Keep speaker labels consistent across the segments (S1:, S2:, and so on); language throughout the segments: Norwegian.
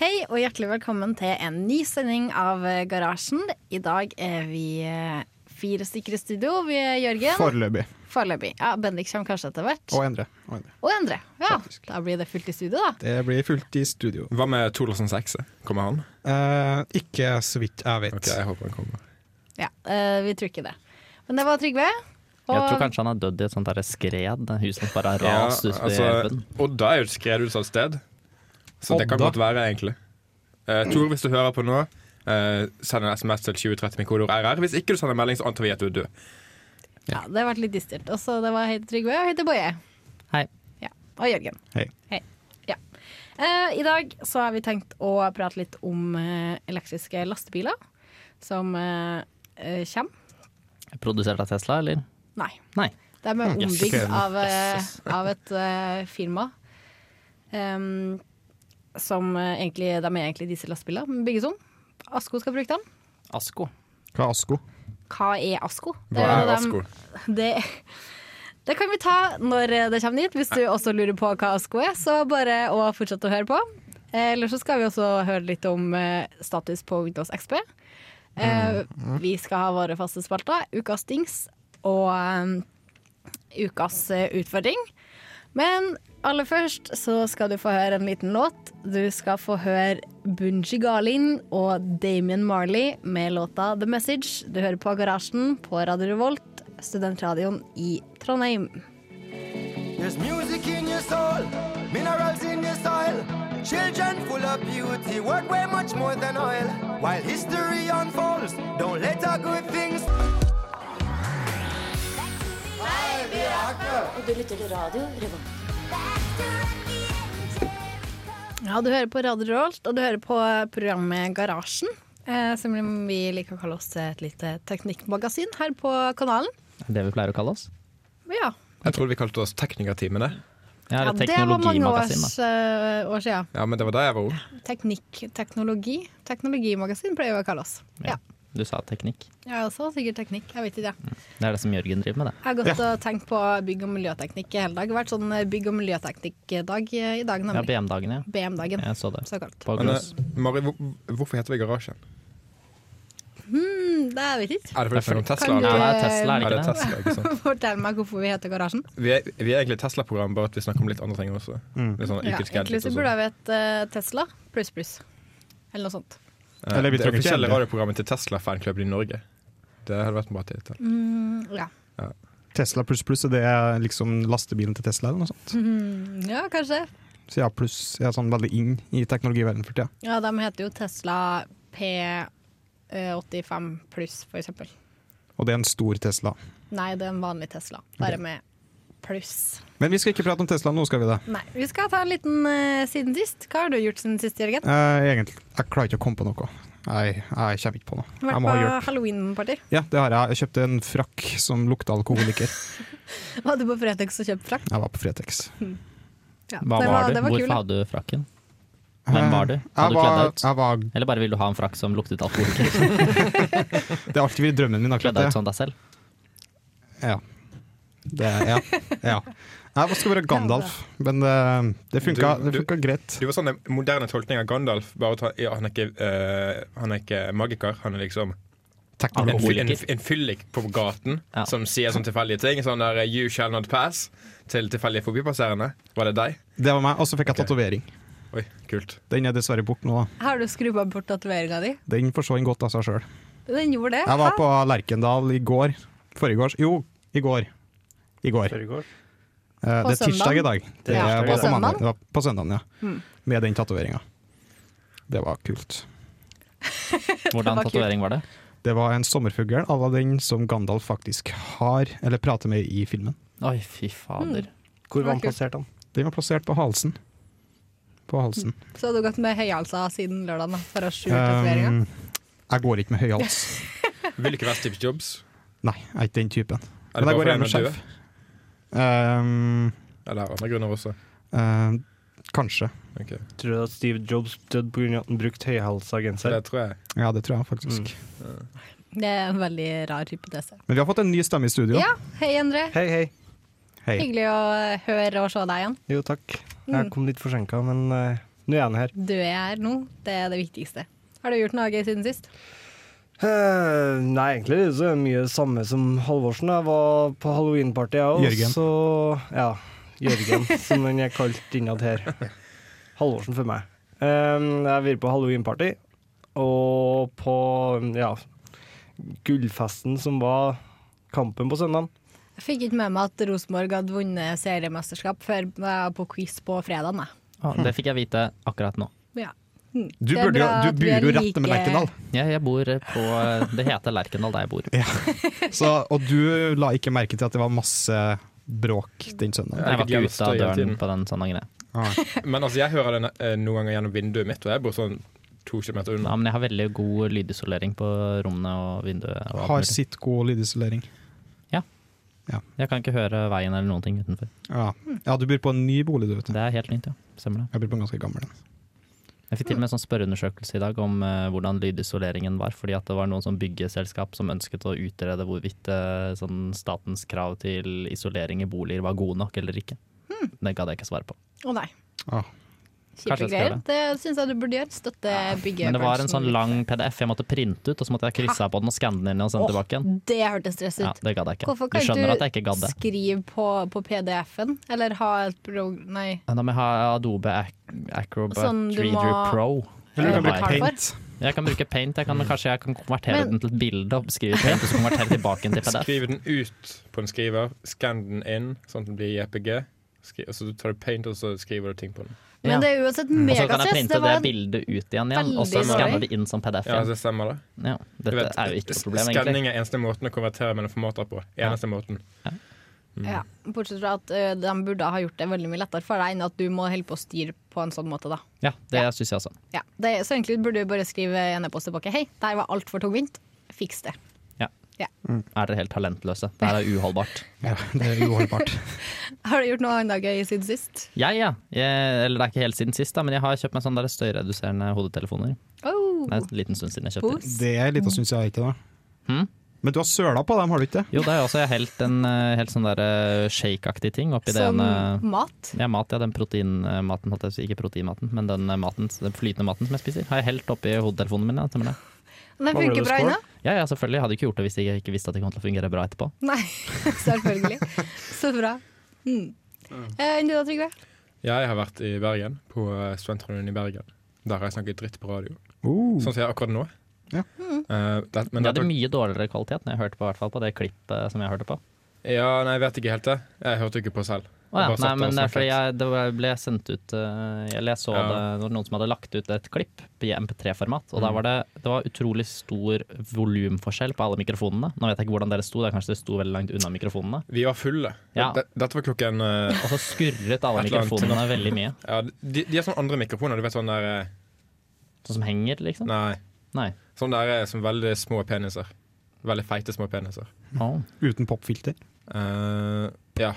S1: Hei og hjertelig velkommen til en ny sending av eh, Garasjen. I dag er vi eh, fire stykker i studio. Vi er Jørgen.
S2: Foreløpig.
S1: Foreløpig. Ja, Bendik kommer kanskje etter hvert.
S2: Og Endre. Og Endre.
S1: Og Endre. Ja,
S2: Faktisk.
S1: da blir det fullt i studio, da.
S2: Det blir fullt i studio.
S3: Hva med 2006? Kommer han?
S2: Eh, ikke så vidt jeg vet.
S3: Ok, jeg håper han kommer.
S1: Ja, eh, Vi tror ikke det. Men det var Trygve.
S4: Jeg tror kanskje han har dødd i et sånt der skred. der Huset bare har rast ut i elven.
S3: altså, Odda er jo et skredutsatt sted, så det kan
S2: Odda?
S3: godt være, egentlig. Eh, Tor, hvis du hører på nå, eh, send en SMS til 2030 med kodeord RR. Hvis ikke du sender melding, så antar vi at du er død.
S1: ja, det har vært litt dystert. Også det var Hei til Trygve og Hei til Boje.
S4: Hei.
S1: Ja, og Jørgen.
S2: Hei.
S1: Ja. Eh, I dag så har vi tenkt å prate litt om eh, elektriske lastebiler som eh, eh, kommer.
S4: Produsert av Tesla, eller?
S1: Nei.
S4: Nei.
S1: De er
S3: Mm,
S2: Yes,
S1: ombygd
S2: ok.
S1: av, eh, av et eh, firma. em, som eh, egentlig, de er egentlig diesellastbiler, men bygges om. Asko skal bruke dem.
S4: Asko.
S2: Hva er Asko?
S1: Hva er Asko?
S3: Hva
S1: jo
S3: er
S1: dem-
S3: Asko?
S1: Det, det kan vi ta når eh, det kommer dit. Hvis du også lurer på hva Asko er, så bare å fortsette å høre på. Eh, Eller så skal vi også høre litt om eh, status på Windows XP. Eh,
S3: Mm.
S1: Vi skal ha våre faste spalter, ukas dings og eh, ukas eh, utfordring. Men aller først så skal du få høre en liten låt. Du skal få høre Bunji Garlin og Damien Marley med låta The Message. Du hører på Garasjen på Radio Revolt, studentradioen i Trondheim.
S5: There's music in your soul, minerals in your soil, children full of beauty, worth way much more than oil. While history unfolds, don't let our good things.
S6: Og du lytter til radio Revolt.
S1: Ja, du hører på Radio Revolt, og du hører på programmet Garasjen. eh, Som vi liker å kalle oss et lite teknikkmagasin her på kanalen.
S4: Er det Det vi pleier å kalle oss.
S1: Ja,
S3: Jeg trodde vi kalte oss Teknikertimene.
S4: Ja,
S1: ja
S4: eller
S1: det var mange
S4: teknologimagasin,
S1: års,
S4: da.
S1: eh, år siden.
S3: Ja, men det var da jeg var ung.
S1: Teknikk, teknologi. Teknologimagasin pleier vi å kalle oss. Ja.
S4: Du sa teknikk.
S1: Jeg er også sikkert teknikk. Jeg vet ikke det.
S4: Det er det som Jørgen driver med, det.
S1: Jeg har gått og tenkt på bygg- og miljøteknikk hele dag. Det har vært sånn bygg- og miljøteknikk-dag i dag,
S4: Ja,
S1: nemlig.
S4: BM-dagen, ja.
S1: BM-dagen,
S4: Jeg så det.
S1: såkalt.
S4: På
S3: Men eh,
S4: Glås.
S3: Mari, hvor- hvorfor heter vi Garasjen?
S1: Mm, Det vet jeg ikke.
S3: Er det fordi det er noen Tesla?
S1: Kan
S4: Ja,
S3: eller?
S4: det er Tesla,
S3: Ja, det
S4: er det
S3: er
S4: ikke det?
S3: Tesla, ikke sant?
S1: Fortell meg hvorfor vi heter Garasjen.
S3: Vi er, vi er egentlig et Tesla-program, bare at vi snakker om litt andre ting også. Det er sånn
S1: Ja,
S3: ukens gadgets
S1: egentlig så
S3: og sånn.
S1: burde jeg hett eh, Tesla pluss pluss. Eller noe sånt.
S3: Eh,
S2: Eller vi
S3: det
S2: trenger ikke
S3: offisielle
S2: endre.
S3: radioprogrammet til Tesla-fanklubben i Norge. Det hadde vært en bra tittel.
S1: Hmm, Ja.
S2: Tesla pluss pluss, er det er liksom lastebilen til Tesla eller noe sånt?
S1: ja, kanskje.
S2: Så jeg er pluss, jeg er sånn veldig inn i teknologiverdenen for tida.
S1: Ja, de heter jo Tesla P85 pluss, for eksempel.
S2: Og det er en stor Tesla.
S1: Nei, det er en vanlig Tesla, bare med pluss.
S2: Men vi skal ikke prate om Tesla nå, skal vi det?
S1: Nei, vi skal ta en liten eh, siden sist. Hva har du gjort siden sist, Jørgen?
S2: Eh, egentlig, jeg klarer ikke å komme på noe. Nei, jeg kommer ikke på noe. Jeg
S1: Vært
S2: må
S1: på
S2: ha hjelp.
S1: halloween-party.
S2: Ja, det har jeg. Jeg kjøpte en frakk som lukta alkoholiker.
S1: Var du på Fretex og kjøpte frakk?
S2: Jeg var på Fretex.
S1: Ja.
S4: Hva var du?
S1: det var
S4: Hvorfor
S1: kul.
S4: hadde du frakken? Hvem var du? Hadde
S2: Eh, jeg,
S4: du kledd
S2: var,
S4: deg ut?
S2: jeg var
S4: Eller bare vil du ha en frakk som luktet alkoholiker?
S2: Det har alltid vært drømmen min. akkurat
S4: Kledd deg
S2: det.
S4: ut som deg selv?
S2: Ja. Det, ja. ja. Jeg skal være Gandalf, men eh, det funka,
S3: Du-
S2: det
S3: du-
S2: funka greit.
S3: Det var sånn en moderne tolkning av Gandalf. Bare at han, ja, han, er ikke, eh, han er ikke magiker, han er liksom en,
S2: Teknolog.
S3: fy- en, en fyllik på gaten
S4: Ja.
S3: som sier sånn tilfeldige ting. Sånn der 'you shall not pass' til tilfeldige forbipasserende. Var det deg?
S2: Det var meg. Og så fikk jeg
S3: Ok.
S2: tatovering.
S3: Oi, kult.
S2: Den er dessverre borte nå. da.
S1: Har du skrubbet bort tatoveringa di?
S2: Den forsvant godt av seg sjøl.
S1: Den gjorde det.
S2: Jeg var på Lerkendal i går. Forgårs? Jo, i går. I går. Eh, det er
S1: søndagen.
S2: tirsdag i dag. Det
S1: Ja,
S2: var
S1: på
S2: på
S1: søndagen.
S2: mandag. Det var på søndagen, ja. Med den tatoveringa. Det var kult.
S4: Hvordan
S1: var kult.
S4: tatovering var det?
S2: Det var en sommerfugl à la den som Gandalf faktisk har, eller prater med i filmen.
S4: Oi, fy fader.
S1: var
S7: Hvor var
S1: han
S7: han plassert han?
S2: Den var plassert på halsen. På halsen.
S1: Så hadde du gått med høyhalsa siden lørdag da, for å skjule tatoveringa?
S2: Um, jeg går ikke med høy hals.
S3: Vil ikke være Steve Jobs.
S2: Nei, jeg er ikke den typen.
S3: Er det
S2: Men jeg
S3: bare
S2: går
S3: fordi
S2: gjerne
S3: han
S2: med
S3: er død?
S2: skjerf. Um,
S3: Eller er det andre grunner også?
S2: um, kanskje.
S3: Ok.
S7: Tror du at Steve Jobs døde pga. at han brukte høyhalsa
S3: Så
S7: genser?
S3: det tror jeg.
S2: Ja, det tror jeg faktisk.
S7: Mm.
S1: Det er en veldig rar hypotese.
S2: Men vi har fått en ny stemme i studio.
S1: Ja, hei, Endre.
S7: Hei, hei.
S2: Hei.
S1: Hyggelig å høre og se deg igjen.
S7: Jo, takk. Jeg kom litt forsinka, men eh, Nå er han her.
S1: Du er her nå, det er det viktigste. Har du gjort noe gøy siden sist?
S7: Eh, nei, egentlig er det så mye samme som Halvorsen. Jeg var på halloweenparty, jeg òg.
S2: Jørgen.
S7: Så Ja. Jørgen, som han er kalt innad her. Halvorsen for meg. Um, jeg var på halloweenparty, og på ja, gullfesten som var kampen på søndag.
S1: Jeg fikk ikke med meg at Rosenborg hadde vunnet seriemesterskap før jeg var på quiz på fredag.
S4: Ah,
S1: Hmm.
S4: det fikk jeg vite akkurat nå.
S1: Ja.
S2: Du,
S1: Det er
S2: burde, jo-
S1: bra
S2: du
S1: at vi
S2: burde jo
S1: er
S2: rette med
S1: like-
S2: Lerkendal,
S4: Jeg, jeg bor på eh, Det heter Lerkendal der jeg bor.
S2: Så- og du la ikke merke til at det var masse bråk den søndagen.
S4: Jeg var ikke ute av
S3: Støy hele
S4: døren
S3: tiden.
S4: på den søndagen. jeg.
S2: Ah.
S3: Men altså, jeg hører det eh, noen ganger gjennom vinduet mitt, og jeg bor sånn to kilometer
S4: Ja,
S3: unna.
S4: men jeg har veldig god lydisolering på rommene og vinduet. Og alt
S2: Har
S4: mulig.
S2: sitt god lydisolering.
S4: jeg kan ikke høre veien eller noen ting utenfor.
S2: Ja. ja, du bor på en ny bolig, du vet.
S4: Det er helt nytt, ja. Stemmer det.
S2: Jeg bor på en ganske gammel en.
S4: Jeg fikk til og med en sånn spørreundersøkelse i dag om eh, hvordan lydisoleringen var, fordi at det var noen sånn byggeselskap som ønsket å utrede hvorvidt eh, sånn statens krav til isolering i boliger var gode nok eller ikke. Det gadd jeg ikke svare på.
S1: Å nei.
S2: Ah.
S4: Kanskje
S1: Kjipe
S4: jeg skal
S1: greier.
S4: gjøre det.
S1: Det syns jeg du burde gjøre. Støtte byggebransjen.
S4: Men det var en sånn lang PDF jeg måtte printe ut, og så måtte jeg krysse av på den og skanne den inn og sende
S1: Åh,
S4: tilbake igjen.
S1: Det hørtes stress ut.
S4: Ja, det gadd jeg ikke.
S1: Hvorfor
S4: Du
S1: kan
S4: skjønner
S1: du
S4: at jeg ikke gadd det.
S1: skrive på, på PDF-en, eller ha et prog... Nei.
S4: Ja, Da må jeg ha Adobe Ac Acrobat
S1: Sånn, du
S4: 3D
S1: må-
S4: Pro.
S2: Eller du kan
S1: Eh, hva er
S2: bruke
S1: det for?
S2: paint. Mm.
S4: Jeg kan bruke paint, jeg kan, men kanskje jeg kan konvertere
S1: Men-
S4: den til et bilde og skrive paint, og så konvertere tilbake den til PDF.
S3: Skriv den ut på en skriver, skann den inn, sånn at den blir JPG. Skri og så tar du paint, og så skriver du ting på den.
S1: Men
S4: Ja.
S1: det er uansett
S4: Og så kan jeg
S1: megastress.
S4: printe
S1: Det
S4: det
S1: var en
S4: bildet ut igjen, igjen og så
S1: veldig
S4: skanner
S1: dårlig.
S4: det inn som PDF
S3: Ja,
S2: altså,
S4: igjen.
S3: det stemmer, det.
S4: Ja,
S3: Du
S4: dette
S3: vet,
S4: er jo ikke noe problem, egentlig.
S3: Skanning er eneste måten å konvertere mellom formater på. Eneste måten.
S1: ja, Bortsett fra at ø, de burde ha gjort det veldig mye lettere for deg enn at du må holde på å styre på en sånn måte, da.
S4: Ja, det syns jeg også.
S1: Ja, det, så egentlig burde du bare skrive en e-post tilbake. Hei, det her var altfor tungvint. Fiks det.
S4: Er dere helt talentløse? Det her er uholdbart.
S2: Ja, det er uholdbart.
S1: Har du gjort noe annet gøy siden sist?
S4: Jeg, ja. Jeg, eller det er ikke helt siden sist, da, men jeg har kjøpt meg sånne der støyreduserende hodetelefoner.
S1: Oh,
S4: Det er en liten stund siden jeg kjøpte.
S1: Bose.
S2: Det er litt å synes jeg ikke, da.
S6: Hm?
S4: Hmm?
S2: Men du har søla på dem, har du ikke det?
S4: Jo, det er jo også jeg helt en eh, helt sånn der eh, shake-aktig ting oppi det eh,
S1: Som
S4: ene
S1: mat.
S4: Ja, mat, ja. Den proteinmaten, holdt jeg på å si. Ikke proteinmaten, men den, eh, maten, den flytende maten som jeg spiser, har jeg helt oppi hodetelefonen min. Ja, stemmer det.
S1: Den
S7: Mangler
S1: funker
S7: du
S1: bra
S7: skål?
S1: ennå?
S4: ja, ja, selvfølgelig. Jeg hadde ikke gjort det hvis jeg ikke visste at det kom til å fungere bra etterpå.
S1: Nei, selvfølgelig. Så bra. Mm. Eh, Enn du da, Trygve?
S3: Jeg har vært i Bergen, på eh, Studentradioen i Bergen. Der har jeg snakket dritt på radio.
S2: Oh.
S3: Sånn som jeg gjør akkurat nå.
S2: Ja.
S3: Eh, det, men
S4: Men det
S3: dette-
S4: hadde mye dårligere kvalitet når jeg hørte på, i hvert fall på det klippet som jeg hørte på.
S3: Ja, nei, jeg vet ikke helt det. Jeg hørte ikke på selv.
S4: Å, ja.
S3: Jeg bare
S4: Nei,
S3: satt
S4: men
S3: og
S4: det er fordi
S3: snakket.
S4: jeg, det var- ble sendt ut eh, Eller jeg så
S3: Ja.
S4: det det var noen som hadde lagt ut et klipp i MP3-format,
S3: Mm.
S4: og der var det, det var utrolig stor volumforskjell på alle mikrofonene. Nå vet jeg ikke hvordan dere sto, det er kanskje dere sto veldig langt unna mikrofonene.
S3: Vi var fulle.
S4: Ja.
S3: Det- Dette var klokken eh,
S4: Og så skurret alle
S3: Et eller annet
S4: mikrofonene veldig mye.
S3: ja, de, de har sånne andre mikrofoner, du vet sånn der eh,
S4: Sånn som henger, liksom.
S3: Nei.
S4: Nei.
S3: Sånn der eh, som veldig små peniser. Veldig feite små peniser.
S4: Å.
S2: Uten popfilter.
S3: Eh, ja.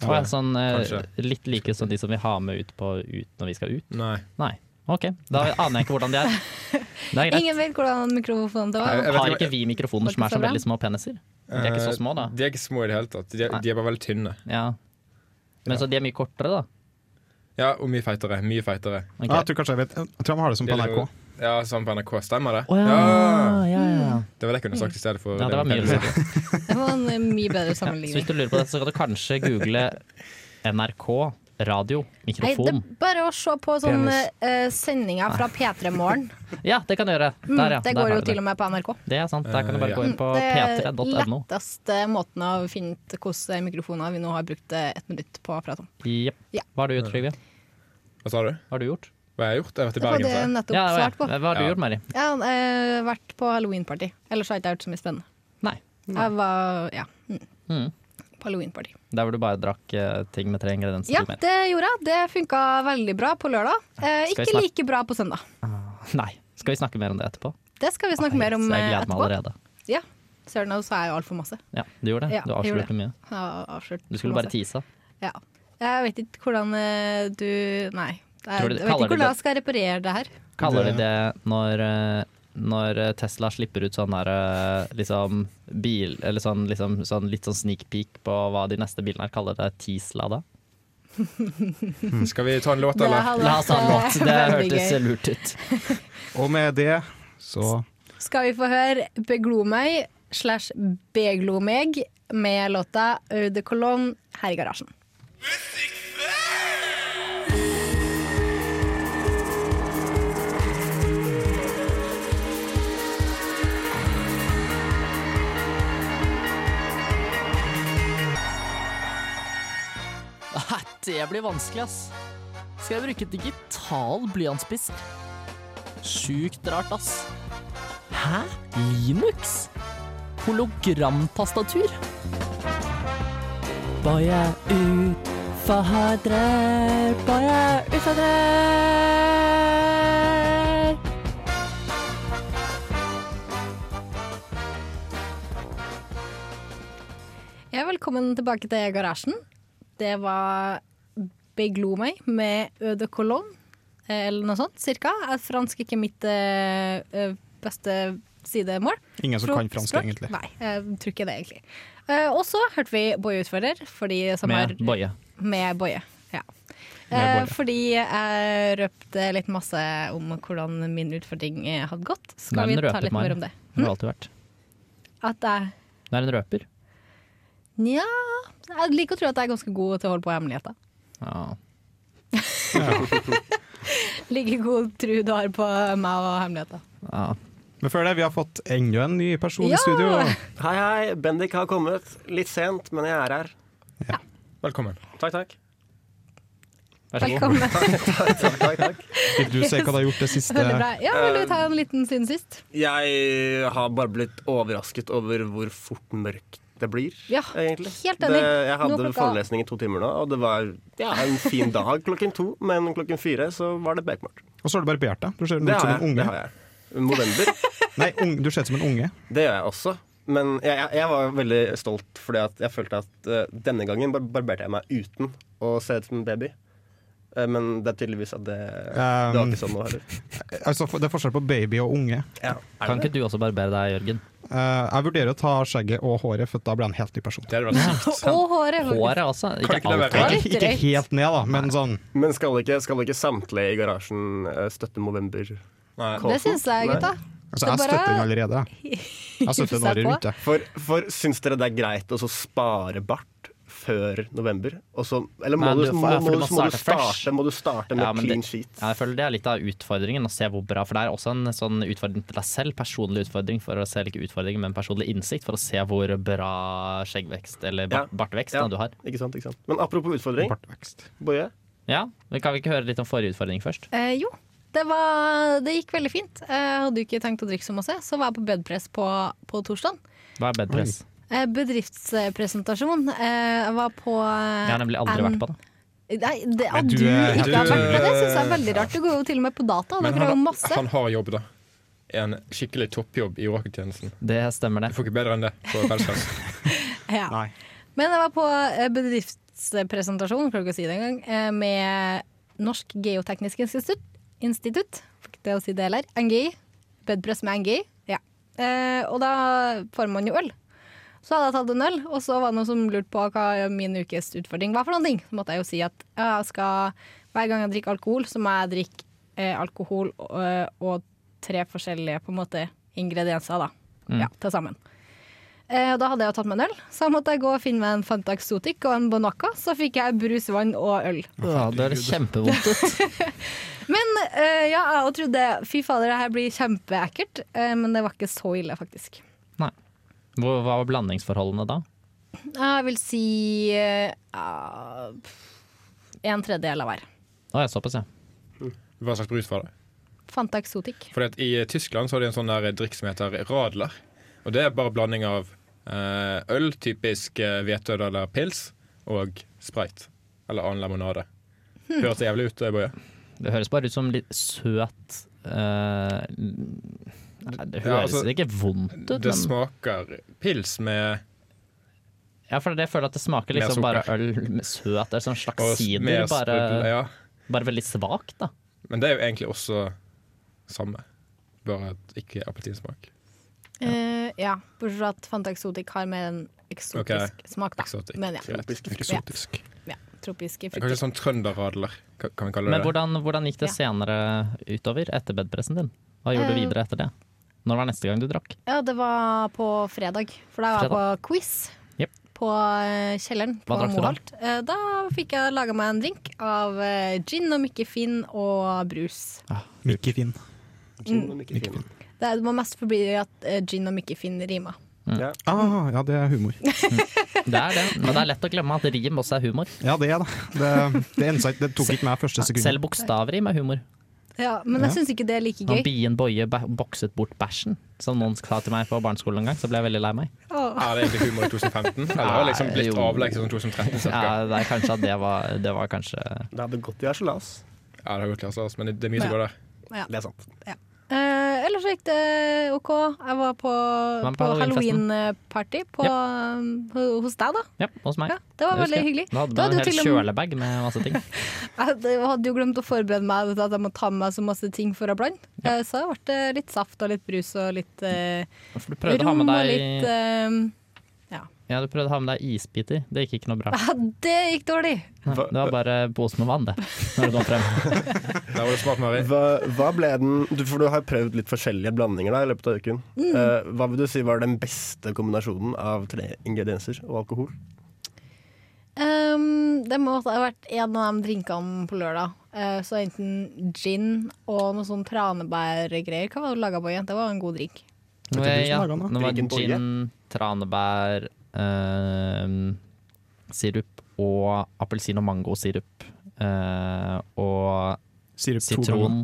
S4: Å, ja, sånn, eh,
S3: Kanskje.
S4: litt like som de som vi har med ut, på, ut når vi skal ut?
S3: Nei.
S4: Nei. OK, da aner jeg ikke hvordan de er. Det er greit.
S1: Ingen vet hvordan mikrofonen det
S3: Nei,
S1: var.
S3: jeg vet
S4: Har
S3: ikke-
S4: ikke vi mikrofoner som er så veldig små peniser? De er ikke så små, da.
S3: Eh, De er ikke små i det hele tatt. De,
S4: Nei.
S3: er- de er bare veldig tynne.
S4: Ja. Men så de er mye kortere, da.
S3: Ja, og mye feitere. Mye feitere.
S4: Ok.
S2: Ja, jeg tror kanskje jeg vet Jeg tror han har det som på
S3: Det er
S2: NRK.
S3: jo- Ja, sånn på NRK. Stemmer det?
S4: Å ja. Ja, ja.
S3: Det var det jeg kunne sagt i stedet for
S4: ja, det var
S3: med
S4: mye
S3: peniser.
S4: lurere.
S1: Det var en eh, mye bedre
S4: Ja. Så hvis
S1: sammenligning.
S4: du lurer på det, så kan du kanskje google NRK radio
S1: Nei, det er
S4: mikrofon.
S1: bare å se på sånne eh, sendinger fra P3 Morgen.
S4: Ja, det kan du gjøre.
S1: Mm,
S4: Der, ja.
S1: det
S4: Der
S1: går
S4: har
S1: jo
S4: du
S1: til
S4: det.
S1: og med på NRK. Mm,
S4: Det er sant. Der kan du
S3: Eh,
S4: bare gå inn på
S1: det er
S4: p3.no.
S1: letteste måten å finne ut hvilke mikrofoner vi nå har brukt eh, et minutt på å prate om.
S4: Jepp.
S1: Ja.
S4: Hva har du gjort, Trygve?
S3: Hva sa du?
S4: Hva har du gjort?
S3: Hva har jeg gjort? Jeg har vært i
S1: Det var
S3: Bergen.
S1: det
S3: sa
S1: jeg
S3: jeg.
S1: nettopp
S4: Ja,
S1: svarte på.
S4: Hva har du
S3: Ja.
S4: gjort, Mari?
S1: Jeg har eh, vært på halloweenparty, ellers har jeg ikke gjort så mye spennende.
S4: Nei.
S1: Jeg var ja, mm,
S4: Mm.
S1: på halloweenparty.
S4: Der hvor du bare drakk eh, ting med tre ingredienser
S1: Ja,
S4: til mer.
S1: det gjorde jeg. Det funka veldig bra på lørdag. Eh,
S4: Skal vi
S1: ikke
S4: snakke-
S1: like bra på søndag.
S4: Nei. Skal vi snakke mer om det etterpå?
S1: Det skal vi snakke mer om
S4: Så
S1: eh,
S4: Jeg gleder meg
S1: etterpå.
S4: allerede.
S1: Ja. Søren, nå sa jeg jo altfor masse.
S4: Ja, du gjorde det.
S1: Ja,
S4: Du
S1: jeg gjorde
S4: avslørte mye.
S1: Jeg har avslørt
S4: Du skulle
S1: for
S4: bare
S1: masse.
S4: tise.
S1: Ja. Jeg vet ikke hvordan eh, du Nei. Jeg,
S4: Tror du-
S1: jeg vet
S4: kaller
S1: ikke
S4: du
S1: hvordan
S4: det-
S1: jeg skal reparere det her.
S4: Kaller de det når, eh, når Tesla slipper ut sånn der eh, liksom bil Eller sånn, liksom, sånn litt sånn sneak peek på hva de neste bilene er, kaller det Tesla da?
S3: Skal vi ta en låt,
S1: Det
S3: eller?
S1: hadde
S4: La oss ha en
S1: vært,
S4: låt.
S1: eh,
S4: Det
S1: veldig
S4: hørtes
S1: gøy.
S4: lurt ut.
S2: Og med det så
S1: Skal vi få høre Beglo meg slash Beglo meg med låta Eau de Cologne her i garasjen.
S4: Nei, det blir vanskelig, ass. Skal jeg bruke digital blyantspiss? Sjukt rart, ass. Hæ? Linux? Hologramtastatur? Bare utfordrer, bare utfordrer.
S1: Ja, velkommen tilbake til garasjen. Det var Beglo meg med Eau de Cologne, eh, eller noe sånt cirka. Er fransk ikke mitt eh, eh, beste sidemål?
S2: Ingen som kan fransk,
S1: Språk?
S2: egentlig.
S1: Nei, jeg tror ikke det, egentlig. Eh, og så hørte vi Boje Utfordrer, for de som
S4: Med
S1: har
S4: Boje.
S1: Med Boje. Ja.
S2: Med Boje.
S1: Eh, fordi jeg røpte litt masse om hvordan min utfordring eh, hadde gått. Skal
S4: Nei, den
S1: vi ta
S4: røpet
S1: litt
S4: meg.
S1: mer om det?
S4: Det har alltid vært.
S1: At jeg
S4: Det er en røper.
S1: Nja Jeg liker å tro at jeg er ganske god til å holde på hemmeligheter.
S4: Ja.
S1: Like god tro du har på meg og hemmeligheter.
S4: ja.
S2: Men før det, vi har fått enda en ny person
S1: Ja!
S2: i studio.
S6: Hei, hei. Bendik har kommet. Litt sent, men jeg er her.
S3: Velkommen.
S6: Takk, takk.
S4: Vær så god.
S1: Velkommen.
S6: takk, takk, takk.
S2: Vil du se hva du har gjort det siste?
S1: Veldig bra. Ja, vil du ta en liten siden sist?
S6: Jeg har bare blitt overrasket over hvor fort mørkt det blir,
S1: Ja,
S6: egentlig.
S1: helt enig.
S6: Det, jeg
S1: Nå
S6: hadde
S1: klokka-
S6: forelesning i to timer nå, og det var ja, en fin dag klokken to, men klokken fire så var det bekmørkt.
S2: Og så har du barbert deg. Du ser
S6: Det
S2: ut som
S6: har
S2: en
S6: jeg. Det
S2: unge.
S6: har jeg. November,
S2: Nei, ung, du ser ut som en unge.
S6: det gjør jeg også. Men jeg, jeg, jeg var veldig stolt, fordi at jeg følte at eh, denne gangen bar barberte jeg meg uten å se ut som en baby. Eh, men det er tydeligvis at det, det var
S2: Um,
S6: ikke sånn nå heller.
S2: Altså, det er forskjell på baby og unge.
S6: Ja.
S4: Kan ikke du også barbere deg, Jørgen?
S2: Eh, jeg vurderer å ta skjegget og håret, for da blir jeg en helt ny person.
S3: Det hadde vært sykt.
S1: Og håret. faktisk.
S4: Håret også. Ikke
S3: ikke det
S4: alt.
S3: være-
S1: Ja,
S2: Ikke,
S1: litt
S2: ikke
S1: drøyt.
S2: helt ned, da, men sånn
S6: Men skal ikke, skal ikke samtlige i garasjen eh, støtte Movember?
S3: Nei.
S1: Det syns jeg, gutta.
S2: altså, Jeg
S1: Så bare-
S2: støtter den allerede. Jeg støtter den
S1: Hiv seg
S2: året
S1: på.
S2: rundt, jeg.
S6: For, for syns dere det er greit å så spare bart før november? Og så, eller må,
S4: Men
S6: du,
S4: du-
S6: må,
S4: ja, for du må
S6: må, du- må, du
S4: starte først.
S6: starte, må du starte med
S4: Ja, men
S6: clean
S4: det-
S6: sheet?
S4: Ja, jeg føler Det er litt av utfordringen, å se hvor bra. For det er også en sånn utfordring til deg selv, personlig utfordring, for å se ikke utfordring, men personlig innsikt, for å se hvor bra skjeggvekst eller
S6: Ja.
S4: bar- bartvekst
S6: Ja.
S4: da, du har.
S6: Ikke sant, ikke sant? Men apropos utfordring,
S2: Bartvekst.
S6: Boje.
S4: Ja, men Kan vi ikke høre litt om forrige utfordring først?
S1: Eh, jo, det, var, det gikk veldig fint. Jeg hadde jo ikke tenkt å drikke så masse, så var jeg på bedpress på, på torsdag.
S4: Hva er bedpress?
S1: Eh, bedriftspresentasjon. Eh, jeg var på
S4: Jeg har nemlig aldri vært på det.
S1: Nei, det,
S2: Men
S1: at
S2: du
S1: du,
S2: er-
S1: ikke
S3: du-
S1: har vært på det, syns jeg er veldig rart. Du går jo til og med på data.
S3: Men
S1: Dere har jo
S3: han,
S1: masse.
S3: han har jobb, da. En skikkelig toppjobb i Orakeltjenesten.
S4: Det stemmer,
S3: Du
S4: det.
S3: får ikke bedre enn det på kveldsplass.
S1: Ja.
S2: Nei.
S1: Men jeg var på eh, bedriftspresentasjon, klarer ikke å si det engang, eh, med Norsk geoteknisk institutt. institutt. Fikk det å si det heller. NGI. Bedpress med NGI. Ja. Eh, og da får man jo øl. Så hadde jeg tatt en øl, og så var det noen som lurte på hva min ukes utfordring var for noen ting. Så måtte jeg jo si at ja, jeg skal, hver gang jeg drikker alkohol, så må jeg drikke eh, alkohol og, og tre forskjellige på en måte, ingredienser da. Ja, til sammen. Eh, og da hadde jeg jo tatt meg en øl, så jeg måtte jeg gå og finne meg en Fanta Exotic og en Bonacca. Så fikk jeg brusvann og øl.
S4: Ja, det høres kjempevondt ut.
S1: Men eh, ja, jeg trodde fy fader, det her blir kjempeekkelt, eh, men det var ikke så ille, faktisk.
S4: Nei. Hva hva var blandingsforholdene da?
S1: Jeg vil si eh, ja, en tredjedel av hver.
S4: Å ja, såpass, ja.
S3: Hva slags brus var det?
S1: Fanta Exotic.
S3: Fordi at I Tyskland så har de en sånn der drikk som heter radler. Og Det er bare blanding av eh, øl, typisk eh, hvetøl eller pils, og sprite. Eller annen limonade.
S4: Hm.
S3: Høres det jævlig ut? eh, Boje?
S4: Det høres bare ut som litt søt eh, Nei, det
S3: Ja,
S4: høres
S3: altså,
S4: ikke vondt ut,
S3: Det
S4: men
S3: smaker pils med
S4: ja, for det jeg føler at det smaker
S3: Mer
S4: liksom bare
S3: sukker.
S4: øl med søt. Det er sånn slags
S3: og
S4: sider,
S3: med sprudel-
S4: bare,
S3: ja.
S4: bare veldig svakt, da.
S3: Men det er jo egentlig også samme, bare at ikke appelsinsmak.
S1: Eh, ja, bortsett fra at Fanta Exotic har mer en eksotisk
S3: Ok.
S1: smak, da.
S3: Exotic.
S1: Men ja.
S3: Greit.
S2: Eksotisk.
S1: tropiske
S3: Kanskje
S1: frukter.
S3: sånn trønderradler, ka- kan vi kalle det
S4: Men
S3: det.
S4: hvordan, hvordan gikk det senere utover etter bedpressen din? Hva gjorde du
S1: Eh,
S4: videre etter det? Når var neste gang du drakk?
S1: Ja, det var på fredag, for da var jeg på quiz.
S4: Jep.
S1: På eh, kjelleren på
S4: Hva drakk du da?
S1: Moholt. Eh, Da fikk jeg laga meg en drink av eh, gin og Mikke Finn og brus.
S2: Mikke Finn.
S1: Mm.
S6: Gin og Mikke Finn.
S1: Det var mest fordi at eh, gin og Mikke Finn rima.
S2: Ah, ja, det er humor.
S4: Det er det, men det er lett å glemme at rim også er humor.
S2: Ja, det er det. Det, det, ensa, ikke- det tok ikke meg første sekund.
S4: Selv bokstavrim er humor.
S1: Ja, men
S2: Ja.
S1: jeg syns ikke det er like
S4: Når
S1: gøy.
S4: bien Boje ba- bokset bort bæsjen, som noen sa til meg på barneskolen en gang, så ble jeg veldig lei meg.
S1: Åh.
S3: Er det egentlig humor i 2015? Eller har det liksom blitt
S4: Nei, jo.
S3: avleggs i sånn 2013?
S4: Ja,
S3: Cirka?
S4: det er kanskje at det var, det var kanskje
S6: Det hadde gått i harselas.
S3: Ja, det har gått til oss, men det er mye som går der.
S6: Det er sant.
S1: Eh, ellers så gikk det OK. Jeg var på,
S4: Men på
S1: på
S4: halloweenfesten?
S1: halloween-party på, eh, ho- hos deg, da.
S4: Ja, hos meg.
S1: Ja, det var
S4: Det husker
S1: veldig
S4: jeg.
S1: hyggelig.
S4: Da
S1: Da
S4: hadde du
S1: hadde
S4: en
S1: du
S4: hel
S1: til og med-
S4: kjølebag med masse ting.
S1: Jeg hadde- jeg hadde jo glemt å forberede meg vet du, at jeg må ta med meg så masse ting for å blande. Eh, Så da ble det litt saft og litt brus og litt eh,
S4: For du prøvde å ha
S1: rom
S4: med
S1: og litt
S4: deg,
S1: eh,
S4: ja, du prøvde å ha med deg isbiter. Det gikk ikke noe bra.
S1: ja, Det gikk dårlig.
S4: Nei, Det var bare pose med vann, det. Når du kom frem.
S3: Der var det smart, Mari.
S6: Hva, hva ble den du, For du har prøvd litt forskjellige blandinger da, i løpet av uken.
S1: Mm.
S6: Eh, hva vil du si var den beste kombinasjonen av tre ingredienser og alkohol?
S1: Ehm, det må ha vært en av de drinkene på lørdag. Eh, så enten gin og noe sånn tranebærgreier. Hva var det du laga på igjen? Det var en god drink.
S2: Vet du
S4: Eh,
S2: du som laget den, da?
S4: det var
S6: Drinken på
S4: gin, tranebær, eh, sirup og appelsin- og mangosirup. Eh, og
S2: Sirup to ganger.
S4: sitron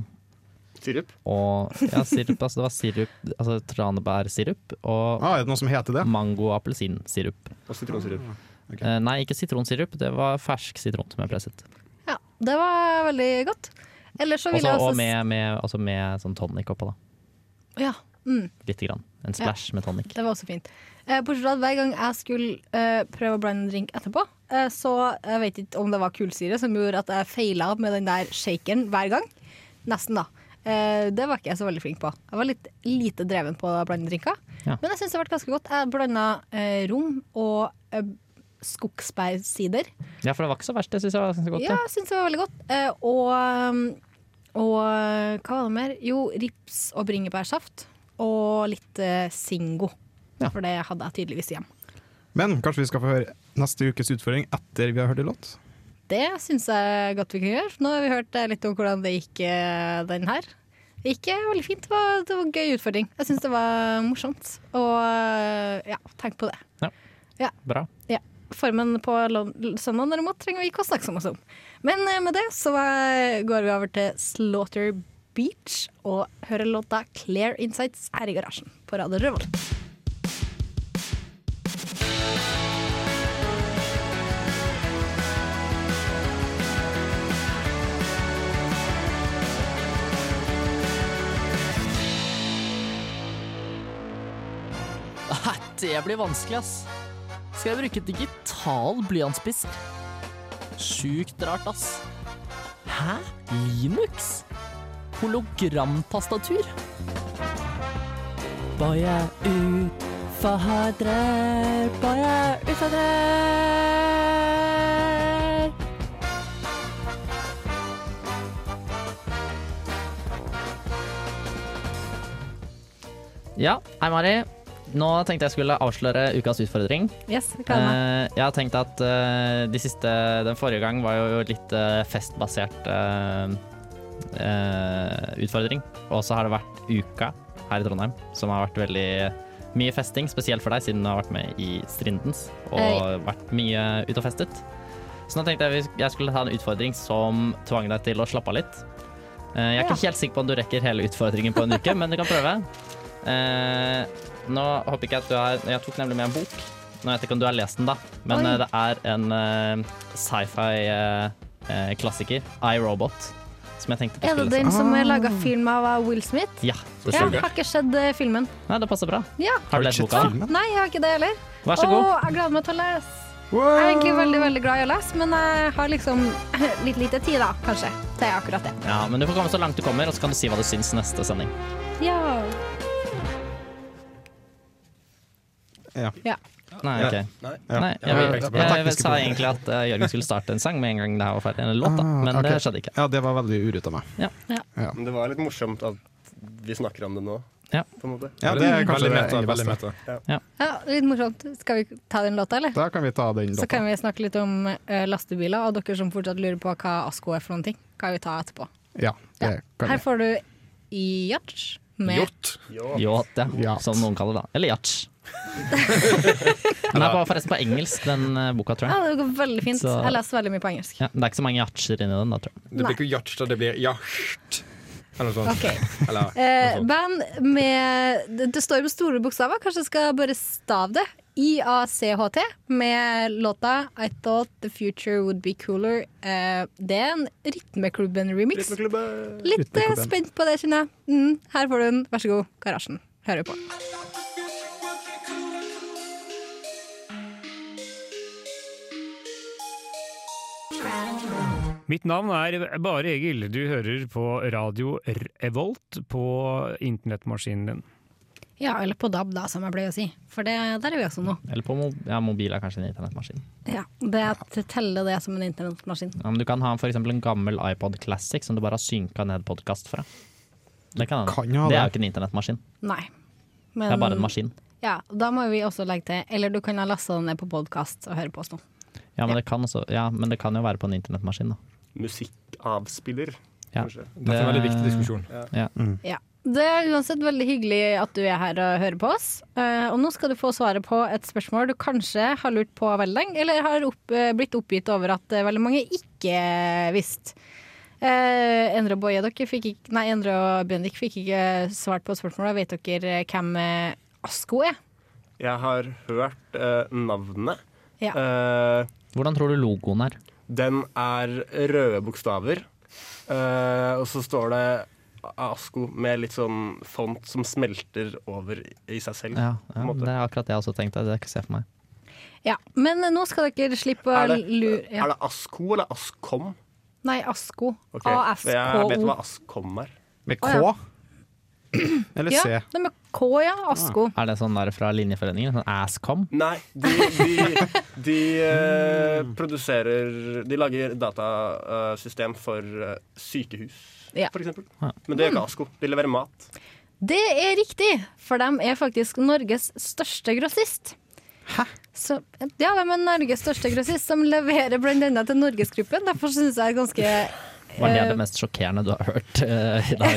S6: Sirup?
S4: og Ja, sirup. Altså, det var sirup, altså tranebærsirup og
S2: Ah, er det noe som heter det?
S4: mango- og appelsinsirup.
S6: Og sitronsirup.
S4: Eh, nei, ikke sitronsirup, det var fersk sitron som jeg presset.
S1: Ja, det var veldig godt. Ellers så ville jeg
S4: Også,
S1: også
S4: og med, med, altså med sånn tonic oppå, da.
S1: Ja. Mm.
S4: Lite grann. En splash med tonic.
S1: Det var også fint. Eh, bortsett fra at hver gang jeg skulle eh, prøve å blande en drink etterpå, eh, så jeg vet ikke om det var kullsyre som gjorde at jeg feila med den der shakeren hver gang. Nesten, da. Eh, det var ikke jeg så veldig flink på. Jeg var litt lite dreven på å blande drinker.
S4: Ja.
S1: Men jeg syns det ble ganske godt. Jeg blanda eh, rom og eh, skogsbærsider.
S4: Ja, for det var ikke så verst, det syns jeg var ganske godt.
S1: Ja,
S4: det.
S1: jeg syns det var veldig godt. Eh, og, og eh, hva var det mer? Jo, rips og bringebærsaft. Og litt eh, Singo.
S4: Ja.
S1: For det hadde jeg tydeligvis hjemme.
S2: Men kanskje vi skal få høre neste ukes utfordring etter vi har hørt en låt?
S1: Det syns jeg godt vi kan gjøre. Nå har vi hørt eh, litt om hvordan det gikk eh, den her. Det gikk eh, veldig fint. Det var, det var en gøy utfordring. Jeg syns det var morsomt. Og eh, ja, tenk på det.
S4: Bra.
S1: Ja. Formen på lon- søndag derimot trenger vi ikke å snakke så mye om. Men eh, med det så eh, går vi over til Slaughter Beach og hører låta 'Clear Insights' her i garasjen på Radio Revolt.
S4: Nei, det blir vanskelig, ass. Skal jeg bruke digital blyantspiss? Sjukt rart, ass. Hæ? Linux? Hologramtastatur? Bare utfordrer, bare utfordrer. Ja, hei Mari. Nå tenkte jeg skulle avsløre ukas utfordring.
S1: Yes, jeg klarer meg.
S4: Eh, jeg har tenkt at eh, de siste, den forrige gang var jo litt eh, festbasert eh, eh, utfordring. Og så har det vært uka her i Trondheim, som har vært veldig mye festing. Spesielt for deg, siden du har vært med i Strindens og
S1: Hei.
S4: vært mye ute og festet. Så nå tenkte jeg vi- jeg skulle ta en utfordring som tvang deg til å slappe av litt. Eh, jeg er ikke helt sikker på om du rekker hele utfordringen på en uke, men du kan prøve. Eh, nå håper ikke jeg at du har Jeg tok nemlig med en bok. Nå vet jeg ikke om du har lest den, da, men
S1: Oi.
S4: eh, det er en eh, sci-fi-klassiker, I, Robot, som jeg tenkte på
S1: Er det
S4: skulle lese.
S1: den som er laga film av eh, Will Smith?
S4: Ja, det
S1: Ja,
S4: stemmer.
S1: jeg har ikke sett eh, filmen.
S4: Nei, det passer bra.
S1: Ja.
S4: Har du lest
S2: sett
S4: boka?
S2: filmen?
S1: Nei, jeg har ikke det heller.
S4: Vær så god.
S1: Å, jeg gleder meg til å lese. Jeg er egentlig veldig veldig glad i å lese, men jeg har liksom litt lite tid, da, kanskje. Det er akkurat det.
S4: Ja, men du får komme så langt du kommer, og så kan du si hva du syns neste sending.
S1: Ja.
S2: Ja.
S1: ja.
S4: Nei, ok.
S6: Nei.
S4: Nei, jeg,
S3: Ja,
S4: jeg,
S3: tekniske
S4: jeg,
S2: problemer.
S4: sa egentlig at eh, Jørgen skulle starte en sang med en gang det her var ferdig, en låt, da. men
S2: Ah, ok.
S4: det skjedde ikke.
S2: Ja, det var veldig urutt av meg.
S6: Men det var litt morsomt at vi snakker om det nå,
S4: Ja.
S6: på en måte.
S2: Ja, det er kanskje
S3: veldig
S2: det
S3: meta,
S2: egentlig
S3: veldig
S2: beste.
S3: meta.
S1: Ja, litt morsomt. Skal vi ta den låta, eller?
S2: Da kan vi ta den
S1: Så
S2: låta.
S1: kan vi snakke litt om eh, lastebiler, og dere som fortsatt lurer på hva Asko er for noen ting, kan vi ta etterpå.
S2: Ja, det
S1: Ja.
S2: kan
S1: Her
S2: vi.
S1: får du Yacht med
S3: Gjort.
S6: Jo.
S4: Yacht, ja.
S2: Yacht.
S4: Som noen kaller det. Eller yacht. Den er bare forresten på engelsk, den eh, boka, tror
S1: Ja,
S4: jeg.
S1: det går veldig fint.
S4: Så-
S1: Jeg leser veldig mye på engelsk.
S4: Ja, det er ikke så mange yachtser inni den, da, tror jeg.
S3: Det blir ikke yacht, da, det blir yacht. Eller noe sånt.
S1: Ok.
S3: Eller,
S1: Eh,
S3: noe sånt.
S1: band med det, det står jo med store bokstaver, kanskje jeg skal bare stave det. IACHT med låta I Thought The Future Would Be Cooler. Eh, det er en Rytmeklubben-remix. Litt eh,
S2: Rytmeklubben.
S1: spent på det, kjenner jeg. Mm, her får du den. Vær så god, Garasjen. Hører på.
S8: Mitt navn er Bare Egil. Du hører på radio Revolt på internettmaskinen din.
S1: Ja, eller på DAB, da, som jeg pleier å si. For det, der er vi også nå.
S4: Eller på mo ja, mobil er kanskje en internettmaskin.
S1: Ja, det jeg teller det som en internettmaskin.
S4: Ja, men du kan ha f.eks. en gammel iPod Classic som du bare har synka ned podkast fra. Det kan
S2: kan
S4: hende.
S2: jo ha
S4: Det
S2: det.
S4: er jo ikke en internettmaskin,
S1: Nei.
S4: det er bare en
S1: Men-
S4: maskin.
S1: Ja, da må vi også legge til Eller du kan ha lasta den ned på podkast og høre på oss nå.
S4: Ja, men det kan, også, ja, men det kan jo være på en internettmaskin, da.
S6: Musikkavspiller,
S4: Ja.
S6: kanskje.
S3: Det er en veldig viktig diskusjon.
S2: Mm.
S1: Ja. Det er uansett veldig hyggelig at du er her og hører på oss. Eh, og nå skal du få svaret på et spørsmål du kanskje har lurt på veldig lenge, eller har opp, eh, blitt oppgitt over at eh, veldig mange ikke visste. Eh, Endre og Boje, dere fikk ikke Nei, Endre og Bendik fikk ikke svart på spørsmålet. Vet dere hvem eh, Asko er?
S6: Jeg har hørt eh, navnet.
S1: Ja.
S6: Eh,
S4: Hvordan tror du logoen er?
S6: den er røde bokstaver. Eh, og så står det Asko med litt sånn font som smelter over i seg selv.
S4: Ja,
S6: på
S4: ja
S6: en måte.
S4: det er akkurat det jeg også tenkte. Det er ikke se for meg.
S1: Ja. Men eh, nå skal dere slippe å
S6: Er det,
S1: lure ja.
S6: er det Asko eller Askom?
S1: Nei, Asko.
S6: Ok, for Jeg vet
S1: ASKO.
S6: hva Askom er.
S2: Med
S1: Å, ja.
S2: K? Eller
S6: E.
S1: Ja,
S2: C?
S1: det med K, ja. Asko.
S4: Er det sånn der fra Linjeforeningen? Sånn Asscom?
S6: Nei, de, de, de eh, produserer De lager datasystem for eh, sykehus,
S1: Ja. Mm.
S6: for eksempel.
S4: Ja.
S6: Men det gjør ikke Asko. De leverer mat.
S1: Det er riktig, for de er faktisk Norges største grossist. Hæ? Så, ja, de er Norges største grossist, som leverer blant annet til Norgesgruppen. Derfor syns jeg er ganske
S4: Var det
S1: Eh,
S4: det mest sjokkerende du har hørt eh, i dag?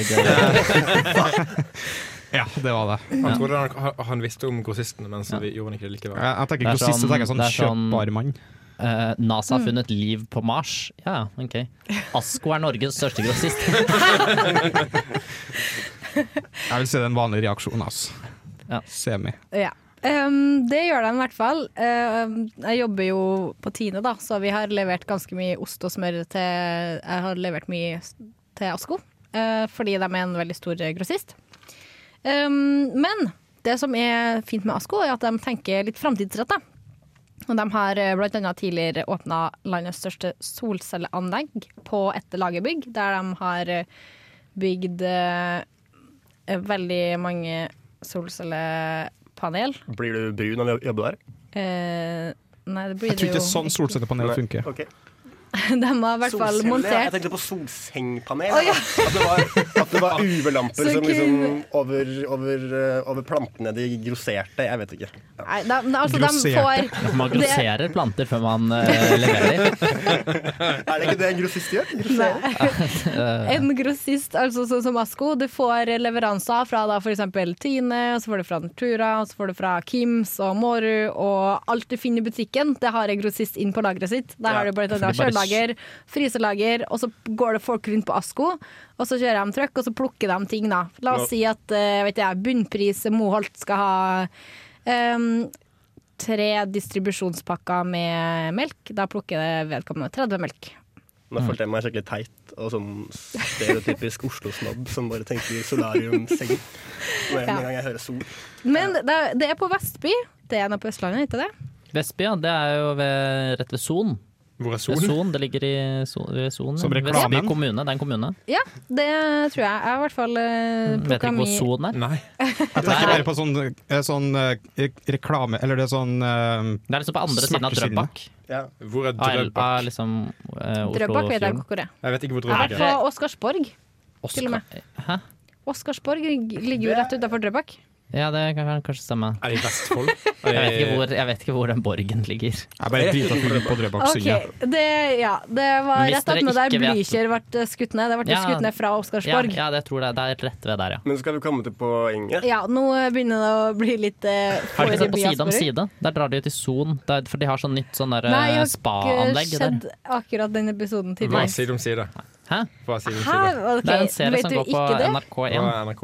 S2: Ja, det var det.
S3: Han trodde han, han- han visste om grossistene, men så vi gjorde han ikke det likevel.
S2: Jeg, jeg tenker
S4: Det er
S2: grossist,
S4: sånn-
S2: jeg tenker sånn
S4: det er sånn-
S2: kjøpbar mann.
S4: Eh, NASA har funnet liv på Mars? Ja, OK. Asko er Norges største grossist.
S2: Jeg vil si det er en vanlig reaksjon, altså.
S4: Ja.
S2: Semi.
S1: Ja. Ehm, det gjør de i hvert fall. Ehm, jeg jobber jo på Tine, da, så vi har levert ganske mye ost og smør til Jeg har levert mye s- til Asko, eh, fordi de er en veldig stor grossist. Ehm, men det som er fint med Asko, er at de tenker litt framtidsrettet. Og de har eh, blant annet tidligere åpna landets største solcelleanlegg på et lagerbygg, der de har eh, bygd eh, veldig mange solcellepanel.
S6: Blir du brun av å jobbe der?
S1: Eh, nei, det blir det
S2: Jeg tror
S1: jo
S2: ikke sånn solcellepanel funker.
S6: Ok.
S1: De har i hvert fall
S6: Solceller? Jeg
S1: montert
S6: tenkte på solsengpanel.
S1: Å, ja.
S6: at, det var, at det var UV-lamper
S1: Så
S6: som liksom
S1: kul.
S6: over, over, eh, over plantene de grosserte. Jeg vet ikke. Ja.
S1: Nei, de, de, altså, de
S2: Grosserte.
S1: får
S4: Man grosserer planter før man eh, leverer dem.
S6: Er det ikke det en grossist gjør? Grosserer.
S1: en grossist, altså sånn som Asko. Du får leveranser fra da f.eks. Tine, og så får du fra Natura, og så får du fra Kims og Mårud, og alt du finner i butikken, det har en grossist inn på lageret sitt. Der har du blant
S4: for de
S1: annet
S4: bare-
S1: kjølelager, fryselager, og så går det folk rundt på Asko, og så kjører de trøkk, og så plukker de ting, da. La oss si at eh, vet jeg, bunnpris Moholt skal ha ehm, tre distribusjonspakker med melk. Da plukker det vedkommende 30 melk.
S6: Nå følte jeg meg skikkelig teit og sånn stereotypisk Oslo-snobb som bare tenker solariumseng med en gang jeg hører sol.
S1: Men det, er- det er på Vestby. Det er nå på Østlandet, ikke det?
S4: Vestby, ja. Det er jo ved, rett ved Son.
S3: Hvor er solen?
S4: Son, det ligger i Son. ved Son,
S2: Som
S4: ved
S2: reklamen.
S4: Vestby kommune. Det er en kommune.
S1: Ja, det tror jeg. Jeg har i hvert fall eh,
S4: Vet
S1: plukka
S4: ikke hvor
S1: mi
S4: Son er.
S3: Nei.
S2: Jeg tenker mer på sånn, eh, sånn eh, re- reklame Eller det er sånn eh,
S4: Det er liksom på andre siden av
S2: Smertesiden.
S4: Drøbak.
S6: Ja.
S3: Hvor er
S4: Av- av
S3: Drøbak?
S4: liksom eh,
S1: Drøbak vet jeg
S4: Oslofjorden.
S1: ikke hvor er.
S3: Jeg vet ikke hvor
S1: Jeg har
S3: Drøbak
S1: vært
S3: er.
S1: på Oscarsborg. til og med.
S4: Hæ?
S1: Oscarsborg ligger jo rett utafor Drøbak.
S4: Ja, det kan, kan kanskje stemme.
S3: Er det i Vestfold?
S4: Jeg vet, ikke hvor, jeg vet ikke hvor den borgen ligger.
S2: Jeg bare driter i på Drøbak
S1: Ok,
S2: synger.
S1: det, ja, det var
S4: Hvis
S1: rett
S4: dere
S1: attmed der
S4: ikke vet-
S1: Blücher ble skutt ned. Det ble
S4: Ja.
S1: skutt ned fra
S4: Ja,
S1: Oscarsborg. Ja,
S4: ja, det tror jeg. Det er rett ved der, ja.
S6: Men skal vi komme til poenget?
S1: nå begynner det å bli litt eh,
S4: Har du ikke sett på
S1: forbi
S4: Side om
S1: Asperger.
S4: side? Der drar de jo til Son, der, for de har sånn nytt sånn der,
S1: Nei,
S4: eh,
S1: jeg har
S4: spa-anlegg
S1: ikke
S4: der.
S1: sett akkurat den episoden
S3: Hva
S1: tidligere.
S3: er side om side?
S4: Hæ?
S3: Hva er side om
S1: Hæ?
S3: side?
S1: Ok,
S4: Det er en
S1: vet
S4: serie som
S1: du
S4: går på
S1: ikke det?
S3: Hva
S4: NRK1.
S3: er NRK?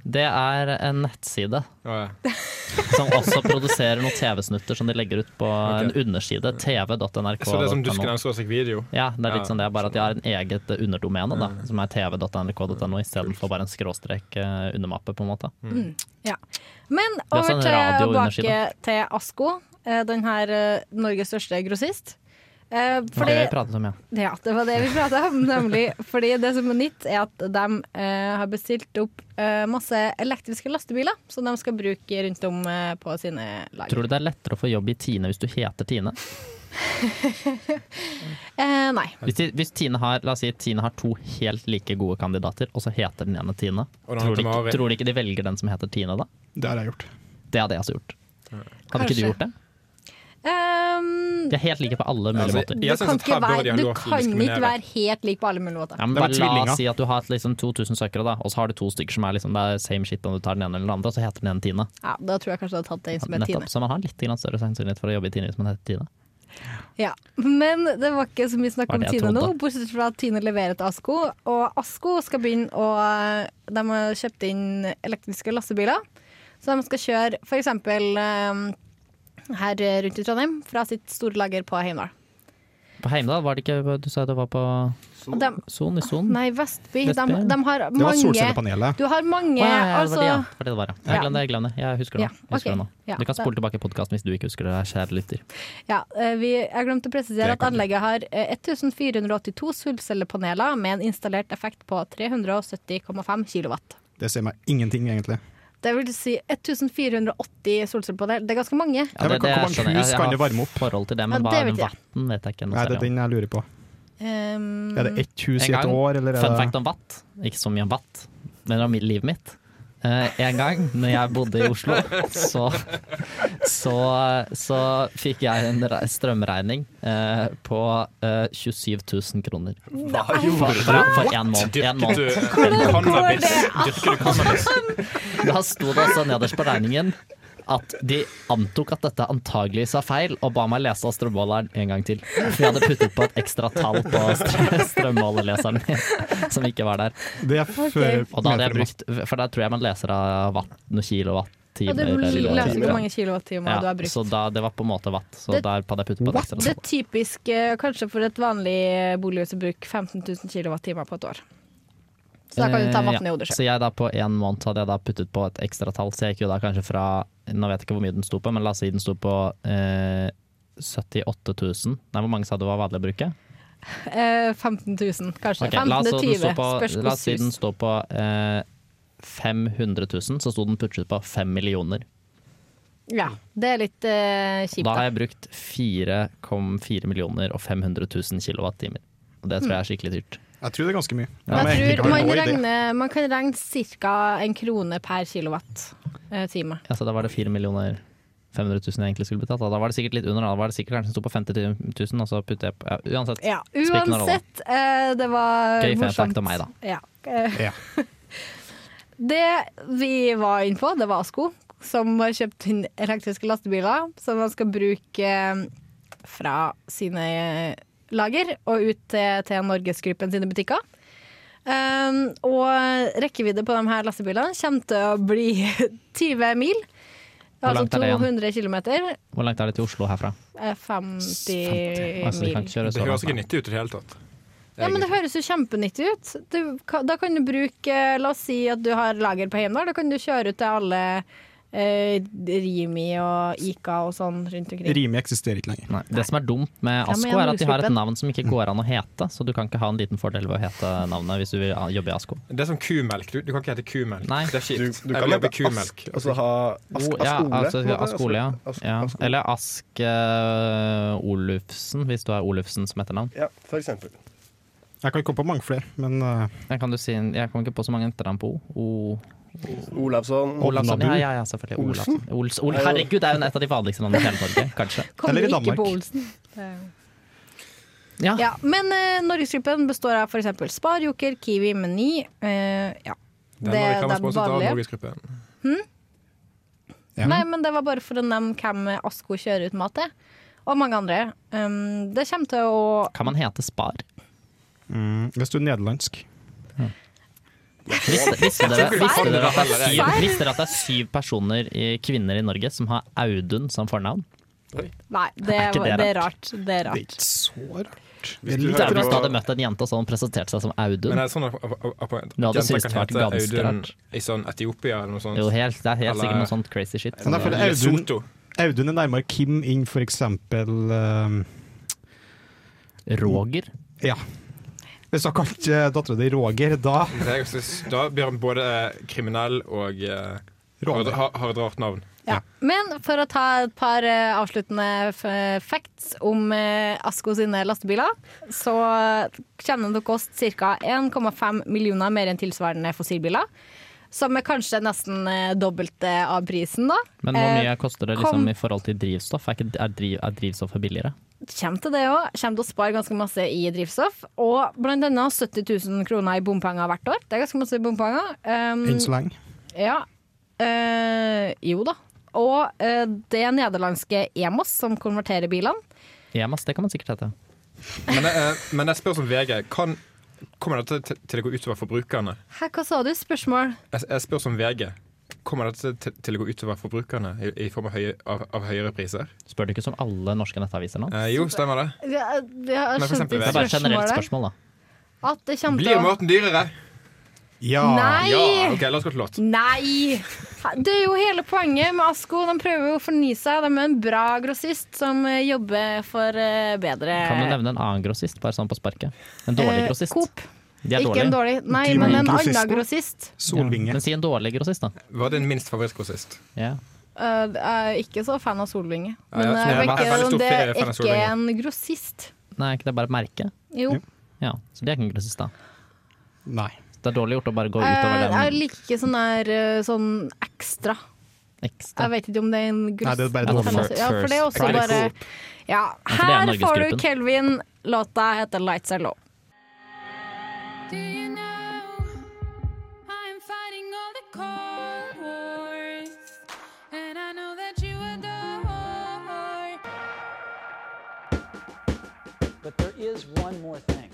S4: Det er en nettside
S3: Å, ja.
S4: som også produserer noen TV-snutter som de legger ut på en underside. tv.nrk.
S3: Så det er som Dusken ønsker seg video?
S4: Ja, det er litt
S3: Ja. Mm.
S4: sånn det, bare at de har en eget eh, underdomene, da, som er tv.nrk.no, istedenfor bare en skråstrek eh, undermappe, på en måte.
S3: Mm.
S1: Mm, Ja. Men
S4: Mm. er
S1: over
S4: sånn
S1: til
S4: radio under
S1: tilbake
S4: siden.
S1: til Asko, eh, den her eh, Norges største grossist. Eh,
S4: Det har
S1: Fordi
S4: vi pratet om, ja.
S1: Ja, det var det vi prata om, nemlig. Fordi det som er nytt, er at de eh, har bestilt opp eh, masse elektriske lastebiler som de skal bruke rundt om eh, på sine lag.
S4: Tror du det er lettere å få jobb i Tine hvis du heter Tine?
S1: Eh, nei.
S4: Hvis, de, hvis Tine har, la oss si Tine har to helt like gode kandidater, og så heter den ene Tine,
S3: Og den
S4: tror du,
S3: heter
S4: ikke,
S3: Mari.
S4: tror du ikke de velger den som heter Tine da?
S2: Det har jeg gjort.
S4: Det hadde jeg altså gjort. Hadde ikke du
S1: Kanskje.
S4: gjort det?
S1: Ehm,
S4: De er helt like på alle mulige
S3: Altså,
S4: måter.
S1: du
S3: jeg synes
S1: kan,
S3: at
S1: ikke
S3: her burde
S1: være,
S3: de ha
S1: du
S3: lov til å
S1: kan ikke
S3: diskriminere.
S1: være helt lik på alle mulige måter.
S4: Ja, men
S2: Det var
S4: bare la
S2: tvillinger.
S4: oss si at du har hatt liksom 2000 søkere, da, og så har du to stykker som er liksom, det er same shit om du tar den ene eller den andre, og så heter den ene Tine.
S1: Ja, da tror jeg kanskje du har tatt den som er
S4: Nettopp,
S1: Tine.
S4: så man har litt grann større sannsynlighet for å jobbe i Tine hvis man heter Tine.
S1: Ja. Men det var ikke så mye snakk
S4: Var
S1: om
S4: det jeg
S1: Tine nå,
S4: trodde.
S1: bortsett fra at Tine leverer til Asko. Og Asko skal begynne å De har kjøpt inn elektriske lastebiler. Så de skal kjøre f.eks. her rundt i Trondheim fra sitt store lager på Heimdal.
S4: På Heimdal var det ikke Du sa det var på
S1: Og De,
S4: Son i Son?
S1: nei, Vestby. De,
S4: Vestby, ja.
S1: de har
S2: Det var
S1: mange
S2: solcellepanelet.
S1: Du har mange,
S4: Å, ja, ja, det var
S1: altså
S4: det, ja. Det var det det var, ja.
S1: Ja.
S4: Jeg glemte det, jeg glemte det. Jeg husker det, nå.
S1: Ja,
S4: Jeg husker
S1: ok.
S4: det nå.
S1: Ja,
S4: Du kan
S1: da-
S4: spole tilbake i podkasten hvis du ikke husker det, kjære lytter.
S1: Ja, eh, vi, jeg glemte å presisere at anlegget har eh, 1482 solcellepaneler med en installert effekt på 370,5 kilowatt.
S2: Det sier meg ingenting, egentlig.
S1: Det vil si 1480 solcellepaneler. Det er ganske mange.
S2: Ja, men hvor mange
S4: skjønner
S2: hus
S4: jeg. sånn, Jeg
S2: kan
S4: har
S2: det varme opp?
S4: Forhold til det,
S1: Ja,
S4: men hva
S1: det
S4: er
S1: vet jeg.
S4: vann, vet jeg ikke noe
S2: Nei, det er
S4: særlig om.
S2: den jeg lurer på.
S1: Um,
S2: Er det ett hus
S4: Mm. En
S2: i et
S4: gang,
S2: år, eller
S4: Fun
S2: er
S4: fact om vatt, ikke så mye om vatt, men om livet mitt. Eh, en gang når jeg bodde i Oslo, så, så, så fikk jeg en re- strømregning eh, på eh, 27 000 kroner.
S6: Hva gjorde du?
S4: For, for en måned. En
S3: Dyrker
S4: måned.
S3: du
S1: Hvordan går
S3: cannabis?
S1: det?
S3: Dyrker du cannabis?
S4: Da sto det også nederst på regningen at de antok at dette antageligvis var feil, og ba meg lese av strømmåleren en gang til. For jeg hadde puttet på et ekstra tall på str- strømmålerleseren min, som ikke var der.
S2: det Det er før
S4: Og da hadde jeg
S2: meter-
S4: brukt, for der tror jeg man leser av watt, noen
S1: ja,
S4: kilowattimer.
S1: du
S4: eller noe.
S1: leser
S6: timer,
S1: hvor
S6: ja.
S1: mange kilowattimer du har
S4: Ja,
S1: brukt.
S4: så da, det var på en måte watt, så
S1: Det-
S4: der hadde jeg puttet på et ekstra
S1: Det er
S4: tall.
S1: typisk eh, kanskje for et vanlig bolighus å bruke 15 000 kilowattimer på et år. Så da kan du ta
S4: Eh,
S1: matten i
S4: ja.
S1: hodet selv.
S4: Så jeg da på en måned hadde jeg da puttet på et ekstra tall, så jeg gikk jo da kanskje fra Nå vet jeg ikke hvor mye den sto på, men la oss si den sto på eh, 78 000. Nei, hvor mange sa det var vanlig å bruke?
S1: Eh, 15 000, kanskje.
S4: Ok, la,
S1: 15
S4: oss, si
S1: 20
S4: den sto på,
S1: spørs
S4: la oss si
S1: hvordan
S4: den
S1: hus.
S4: står på eh, 500 000, så sto den puttet på 5 millioner.
S1: Ja, det er litt eh, kjipt.
S4: Da
S1: Da.
S4: har jeg brukt 4,4 millioner og 500 000 kilowattimer. Og det
S1: Hmm.
S4: tror jeg er skikkelig dyrt.
S2: Jeg tror det er ganske mye.
S1: Men jeg
S2: Men
S1: tror
S2: egentlig kan vi
S1: man,
S2: gå i det.
S1: regner, man kan regne ca. en krone per eh, kilowatt-time.
S4: Ja, så da var det 4 millioner 500 000 jeg egentlig skulle betalt. Da. da var det sikkert litt under, da. da var det sikkert kanskje den sto på 50 000, og så puttet jeg på ja, Uansett.
S1: Ja,
S4: Spikker noen
S1: uansett, eh, det var
S4: Gøy fun
S1: morsomt.
S4: fact om meg, da.
S1: Ja. Eh,
S2: Ja.
S1: det vi var inne på, det var Asko, som har kjøpt inn elektriske lastebiler som man skal bruke eh, fra sine eh, lager og ut til, til Norgesgruppen sine butikker. Um, og rekkevidde på de her lastebilene kommer til å bli 20 mil.
S4: Hvor
S1: Altså
S4: langt er det igjen?
S1: 200 km.
S4: Hvor langt er det til Oslo herfra?
S1: 50
S4: Altså, de
S1: Eh, mil.
S4: kan ikke kjøre
S3: Det
S4: så
S3: høres ikke
S4: langt. da.
S3: nyttig ut i det hele tatt.
S1: Ja, men Det høres jo kjempenyttig ut. Du, ka- da kan du bruke La oss si at du har lager på Heimdal. Da kan du kjøre ut til alle eh, Rimi og Ica og sånn rundt omkring.
S2: Rimi eksisterer ikke lenger.
S4: Nei. Det som er dumt med
S1: men
S4: Asko,
S1: jeg
S4: er
S1: må
S4: at de har et
S1: utslippe.
S4: navn som ikke går an å hete, så du kan ikke ha en liten fordel ved å hete navnet hvis du vil a- jobbe i Asko.
S3: Det er som kumelk. Du, du kan ikke hete kumelk.
S4: Nei.
S3: Det er
S6: Du,
S3: kjipt.
S6: du
S3: Jeg
S6: kan
S3: vil jobbe
S6: jobbe
S3: kumelk. Altså,
S6: ask, og så ha ask,
S4: ja,
S6: askole.
S4: altså,
S6: på en måte.
S4: Askole, ja.
S6: Ask-
S4: ja.
S6: askole.
S4: Eller Ask eh, Olufsen, hvis du har Olufsen som etternavn.
S6: Ja, for eksempel.
S2: Jeg kan komme på mange flere, men eh,
S4: Jeg, kan du si, jeg kom ikke på så mange etternavn på O.
S6: Olavsson.
S4: o Olavsson.
S2: Olafsson.
S4: Ja, ja, ja, selvfølgelig.
S6: Olsen?
S4: Olafsson. Ols, Ol, herregud, det er jo en- et av de vanligste navnene i hele Norge, kanskje.
S1: Kommer
S2: Eller i
S1: ikke
S2: Danmark.
S1: på Olsen. Det er jo-
S4: Ja.
S1: Ja, men eh, Norgesgruppen består av f.eks. Spar, Joker, Kiwi, Meny. eh, ja.
S3: Den var reklame sponset av
S1: vanlige.
S3: Norgesgruppen.
S2: ja.
S1: Nei, men det var bare for å nevne hvem Asko kjører ut mat til. Og mange andre. Um, det kommer til å
S4: Kan man hete Spar?
S2: mm, hvis du er nederlandsk
S4: Visste, visste, dere, visste, dere at det er syv,
S1: Sverre?
S4: visste dere at det er syv personer, i, kvinner i Norge, som har Audun som fornavn?
S1: Nei, det,
S4: Er ikke det
S1: det er rart. Det er rart.
S2: ikke så rart.
S3: Hvis
S2: Det
S3: du
S2: er
S4: Hvis
S2: litt
S3: hører
S4: du
S3: på-
S4: hadde møtt en jente og så hadde hun presenterte seg som Audun
S3: Men er det sånn at, at, at, at
S4: Du hadde
S3: jenter
S4: syntes
S3: kan
S4: det hadde vært
S3: hete
S4: ganske
S3: Audun
S4: rart.
S3: i sånn Etiopia eller noe sånt?
S4: Jo, helt, det er helt
S3: Eller-
S4: sikkert noe sånt crazy shit.
S2: Men derfor-
S4: Sånn,
S2: Audun-
S3: Lesotho.
S2: Audun er nærmere Kim enn for eksempel eh,
S4: Roger.
S2: Ja. Hvis du har kalt uh, dattera di Roger, da
S3: Det er- jeg synes- Da blir han både eh, kriminell og eh, har,
S2: Roger.
S3: har- har et rart navn.
S1: Ja. Men for å ta et par eh, avsluttende f- facts om eh, Asko sine lastebiler, så kommer den til å koste ca. 1,5 millioner mer enn tilsvarende fossilbiler. Som er kanskje nesten eh, dobbelte av prisen, da.
S4: Men hvor
S1: Eh,
S4: mye koster det
S1: kom-
S4: liksom, i forhold til drivstoff? Er, ikke, er, driv, er drivstoffet billigere?
S1: Eh, Kjem til det òg. Kjem til å spare ganske masse i drivstoff. Og blant annet 70 000 kroner i bompenger hvert år. Det er ganske masse bompenger. Um,
S2: Enn så lenge.
S1: ja. Eh, jo da. Og eh, det nederlandske EMOS, som konverterer bilene.
S4: EMAS, det kan man sikkert hete.
S3: Men, jeg- eh, men jeg spør som VG kan, Kommer dette til, til å gå utover forbrukerne?
S1: Hæ, hva sa du? Spørsmål?
S3: Jeg, jeg spør som VG. Kommer dette til, til å gå utover forbrukerne i, i form av, høye, av, av høyere priser?
S4: Spør du ikke som alle norske nettaviser nå?
S3: Eh, jo, stemmer det.
S1: Jeg, jeg
S3: for
S1: skjønte
S3: eksempel,
S4: Det
S1: ikke
S4: er bare et generelt
S1: spørsmålet.
S4: spørsmål, da.
S1: At det kommer
S3: Blir
S1: til å
S3: maten dyrere?
S2: Ja.
S1: Nei!
S3: Ja, ok, la oss gå til låt.
S1: Nei! Det er jo hele poenget med Asko. De prøver jo å fornye seg. De er en bra grossist som eh, jobber for eh, bedre
S4: Kan du nevne en annen grossist, bare sånn på sparket? En dårlig
S1: Eh,
S4: grossist.
S1: Coop.
S4: De er
S1: Ikke en
S4: dårlige.
S1: dårlig, nei,
S2: Gym-
S1: men en
S2: grossisten.
S1: annen grossist.
S2: Solvinge.
S4: Men si en dårlig grossist, da.
S3: Var din minst favorittgrossist?
S4: Ja.
S1: Eh, jeg er ikke så fan av Solvinge. Men
S3: jeg-
S1: eh,
S3: jeg er veldig stor
S1: begge, det er
S3: fan av
S1: ikke
S3: Solvinge.
S1: en grossist.
S4: Nei, er ikke det bare et merke?
S1: Jo.
S4: Ja, så de er ikke en grossist, da.
S2: Nei.
S4: Så Det er dårlig gjort å bare gå
S1: Eh,
S4: utover
S1: jeg
S4: den
S1: liker ikke sånn der eh, sånn ekstra.
S4: ekstra.
S1: Jeg vet ikke om det er en grossist.
S2: Nei, det er bare
S4: Ja,
S2: dårlig.
S4: first-
S1: Ja, for det er også
S4: first
S1: bare
S4: price.
S1: Ja,
S4: for det er
S1: her får du
S4: Norgesgruppen.
S1: Kelvin. Låta heter 'Lights Are Low'.
S9: Do you know I'm fighting all the cold wars? And I know that you adore.
S10: But there is one more thing.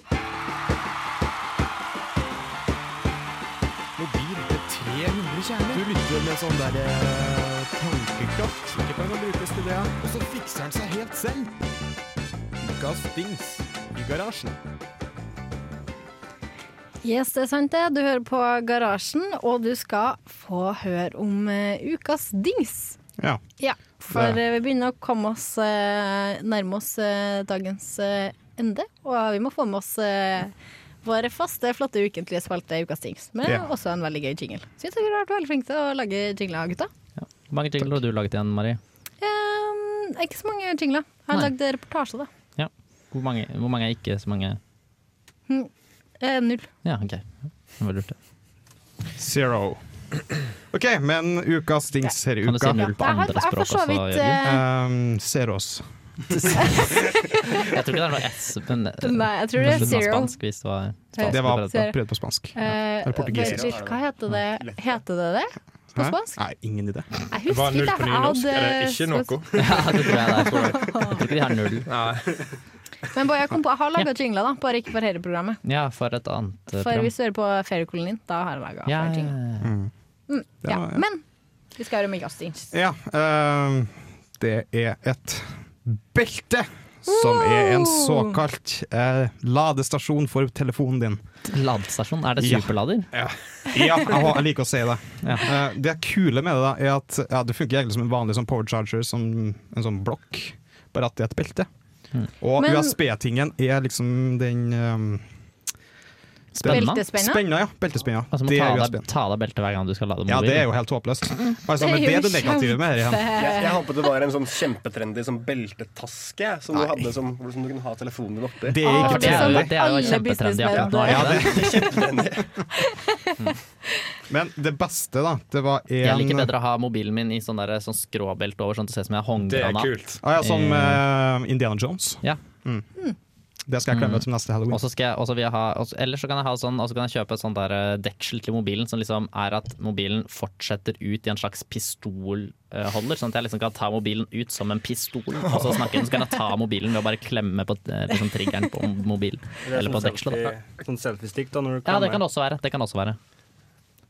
S4: sånn eh,
S1: Yes, det er sant det. Du hører på Garasjen, og du skal få høre om eh, ukas dings.
S2: Ja.
S1: Ja, for
S2: Det-
S1: eh, vi begynner å komme oss eh, nærme oss eh, dagens eh, ende, og vi må få med oss eh, våre faste, flotte ukentlige spalte Ukas dings. Men det er
S2: Ja.
S1: også en veldig gøy jingle. Syns dere har vært veldig flinke til å lage jingler, gutta?
S4: Hvor mange jingler har du laget igjen, Marie?
S1: Um, ikke så mange jingler. Jeg har
S4: Nei.
S1: lagd reportasje, da.
S4: Ja. Hvor mange, hvor mange er ikke så mange?
S1: Eh, null.
S4: Ja, OK. Det var lurt. det.
S2: Zero. OK, men ukas dings her i
S4: Kan du si
S2: uka
S4: null på
S1: Ja, jeg har-
S4: andre
S1: jeg
S4: språk
S1: for
S4: også,
S1: så vidt,
S4: Jørgen?
S1: eh,
S2: um, Zeros.
S4: Jeg tror ikke det er noe S, men eh,
S1: Nei, jeg tror det er
S4: Kanskje var
S1: zero.
S4: Spansk, hvis det var spansk.
S2: Det var
S4: jeg prøvde.
S1: Zero.
S2: prøvd på spansk.
S1: Eh,
S2: Eller portugisisk.
S1: vent litt, Hva heter det? Heter det det? På
S2: Hæ?
S1: spansk?
S2: Nei, ingen idé.
S1: Jeg
S3: Det var
S1: husker
S3: null
S1: ikke.
S3: på
S1: Jeg
S3: nynorsk. Er det
S1: hadde
S3: ikke noe?
S4: Ja, det tror jeg det er. Jeg tror ikke de har null.
S3: Nei.
S1: Men bare jeg kom på, jeg har laga jingler, da. Bare ikke for dette programmet.
S4: Ja, for et annet eh,
S1: For
S4: program.
S1: hvis du hører på Feriekolonien, da har jeg laga
S4: Ja, ja,
S1: jingler.
S4: ja.
S2: Det
S1: Ja.
S2: var- ja.
S1: Men vi skal høre Mikael Stings.
S2: Ja, ehm, det er et belte som er en såkalt eh, ladestasjon for telefonen din.
S4: Ladestasjon? Er det
S2: Ja.
S4: superlader?
S2: Ja, jeg, hå- jeg liker å si det.
S4: Ja.
S2: Eh, det kule med det da, er at ja, det funker egentlig som en vanlig sånn power charger, som en sånn blokk, bare at det er et belte.
S4: Mm.
S2: Og
S1: Men-
S2: USB-tingen er liksom den um,
S4: Spenna?
S1: Beltespenna?
S2: Spenna, ja. Beltespenna.
S4: Altså,
S2: det
S4: ta,
S2: er
S4: deg,
S2: USB-en.
S4: ta av deg beltet hver gang du skal lade
S2: Ja,
S4: mobilen.
S2: det er jo helt håpløst. Altså,
S1: Mm. Det er
S2: men det
S1: jo
S2: er det negative med dette. igjen.
S6: Jeg, jeg håpet det var en sånn kjempetrendy sånn beltetaske som
S2: Nei.
S6: du hadde som, hvor- som du kunne ha telefonen din oppi.
S2: Det er
S1: Ah,
S2: ikke
S4: For det er sånn
S1: Som
S4: jo,
S2: trendy.
S4: det er jo
S1: alle
S4: kjempetrendy akkurat nå.
S1: businessmenn.
S4: er det det?
S2: Men det beste, da, det var en
S4: Jeg liker bedre å ha mobilen min i sånn, der, sånn skråbelte over, sånn at det ser ut som jeg har
S3: Det er
S4: håndgranat.
S3: kult.
S2: Ah, ja, som
S4: Eh. Mm.
S2: eh, Indiana Jones.
S4: Ja.
S2: Mm. Det skal jeg klemme til neste halloween.
S4: Og så skal jeg, og så vil jeg ha, og så- ellers så kan jeg ha sånn, og så kan jeg kjøpe et sånt der eh, deksel til mobilen som liksom er at mobilen fortsetter ut i en slags pistolholder, sånn at jeg liksom kan ta mobilen ut som en pistol, og så snakke den, så kan jeg ta mobilen ved å bare klemme på eh, liksom, triggeren på mobilen, eller på dekselet. da.
S7: Sånn selfiestick, da. Når du
S4: Ja, det kan det også være. Det kan det også være.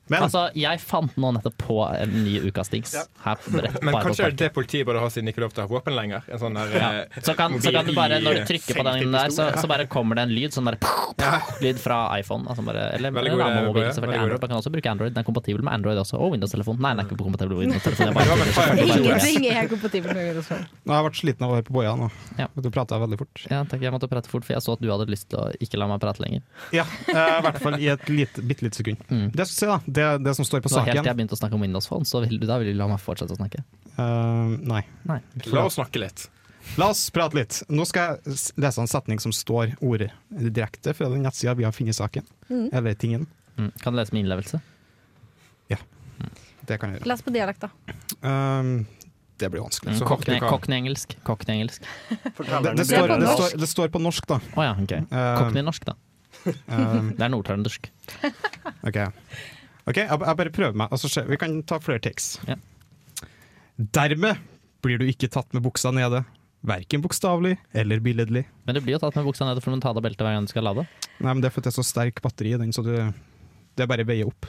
S2: Men
S4: Altså, jeg fant nå nettopp på en ny ukas dings. Her, rett,
S3: Men
S4: bare på
S3: kanskje det
S4: parken.
S3: er det politiet burde ha siden de ikke lov til å ha våpen lenger? En sånn der,
S4: ja.
S3: eh,
S4: så, kan, så
S3: mobil
S4: kan du bare,
S3: i,
S4: når du
S3: eh,
S4: trykker på den
S3: feltpistol.
S4: der, så, så bare kommer det en lyd, sånn der lyd fra iPhone. Altså bare, eller
S3: Veldig
S4: eller
S3: god idé, Boje.
S4: rammemobilen,
S3: Veldig god
S4: selvfølgelig.
S3: idé.
S4: Android, man kan også bruke Android. Den er kompatibel med Android også, og Windows-telefon. Nei, den er ikke kompatibel med Windows-telefon. Jeg bare-
S1: Ingenting er kompatibel med Windows Phone.
S2: Nå har jeg vært sliten av å høre på Boja nå.
S4: Ja.
S2: Du prata veldig fort.
S4: Ja, takk, jeg måtte prate fort, for jeg så at du hadde lyst til å ikke la meg prate lenger.
S2: Ja, eh, i hvert fall i et lite, bitte lite sekund.
S4: Mm.
S2: Det jeg skulle si, da, det, det som står på
S4: Så helt til jeg
S2: saken
S4: begynte å snakke om Windows Phone, så vil du, da vil du la meg fortsette å snakke.
S2: Eh, Nei.
S4: Nei.
S3: La oss snakke litt.
S2: La oss prate litt. Nå skal jeg s- lese en setning som står ordet direkte fra den nettsida vi har funnet saken. Eller tingen.
S4: Mm. Kan du lese med innlevelse?
S2: Det kan jeg gjøre.
S1: Les på dialekt, da.
S2: Eh, det blir vanskelig.
S4: Mm.
S3: Så hardt du
S4: Cockney-
S3: kan.
S4: Cockney-engelsk. Cockney-engelsk.
S2: Det, det,
S1: Det er
S2: står,
S1: på
S2: det,
S1: norsk.
S2: står, det står på norsk, da.
S4: Å ja, ok.
S3: Um,
S2: Eh,
S4: Cockney-norsk, da.
S2: eh,
S4: Det er nordtrøndersk.
S2: Ok, Ok, jeg, jeg bare prøver meg. Altså, se- vi kan ta flere takes.
S4: Ja.
S2: Dermed blir du ikke tatt med buksa nede. Verken bokstavelig eller billedlig.
S4: Men du blir jo tatt med buksa nede for å ta av deg beltet hver gang du skal lade.
S2: Nei, men Det er fordi det er så sterk batteri i den, så du, det bare veier opp.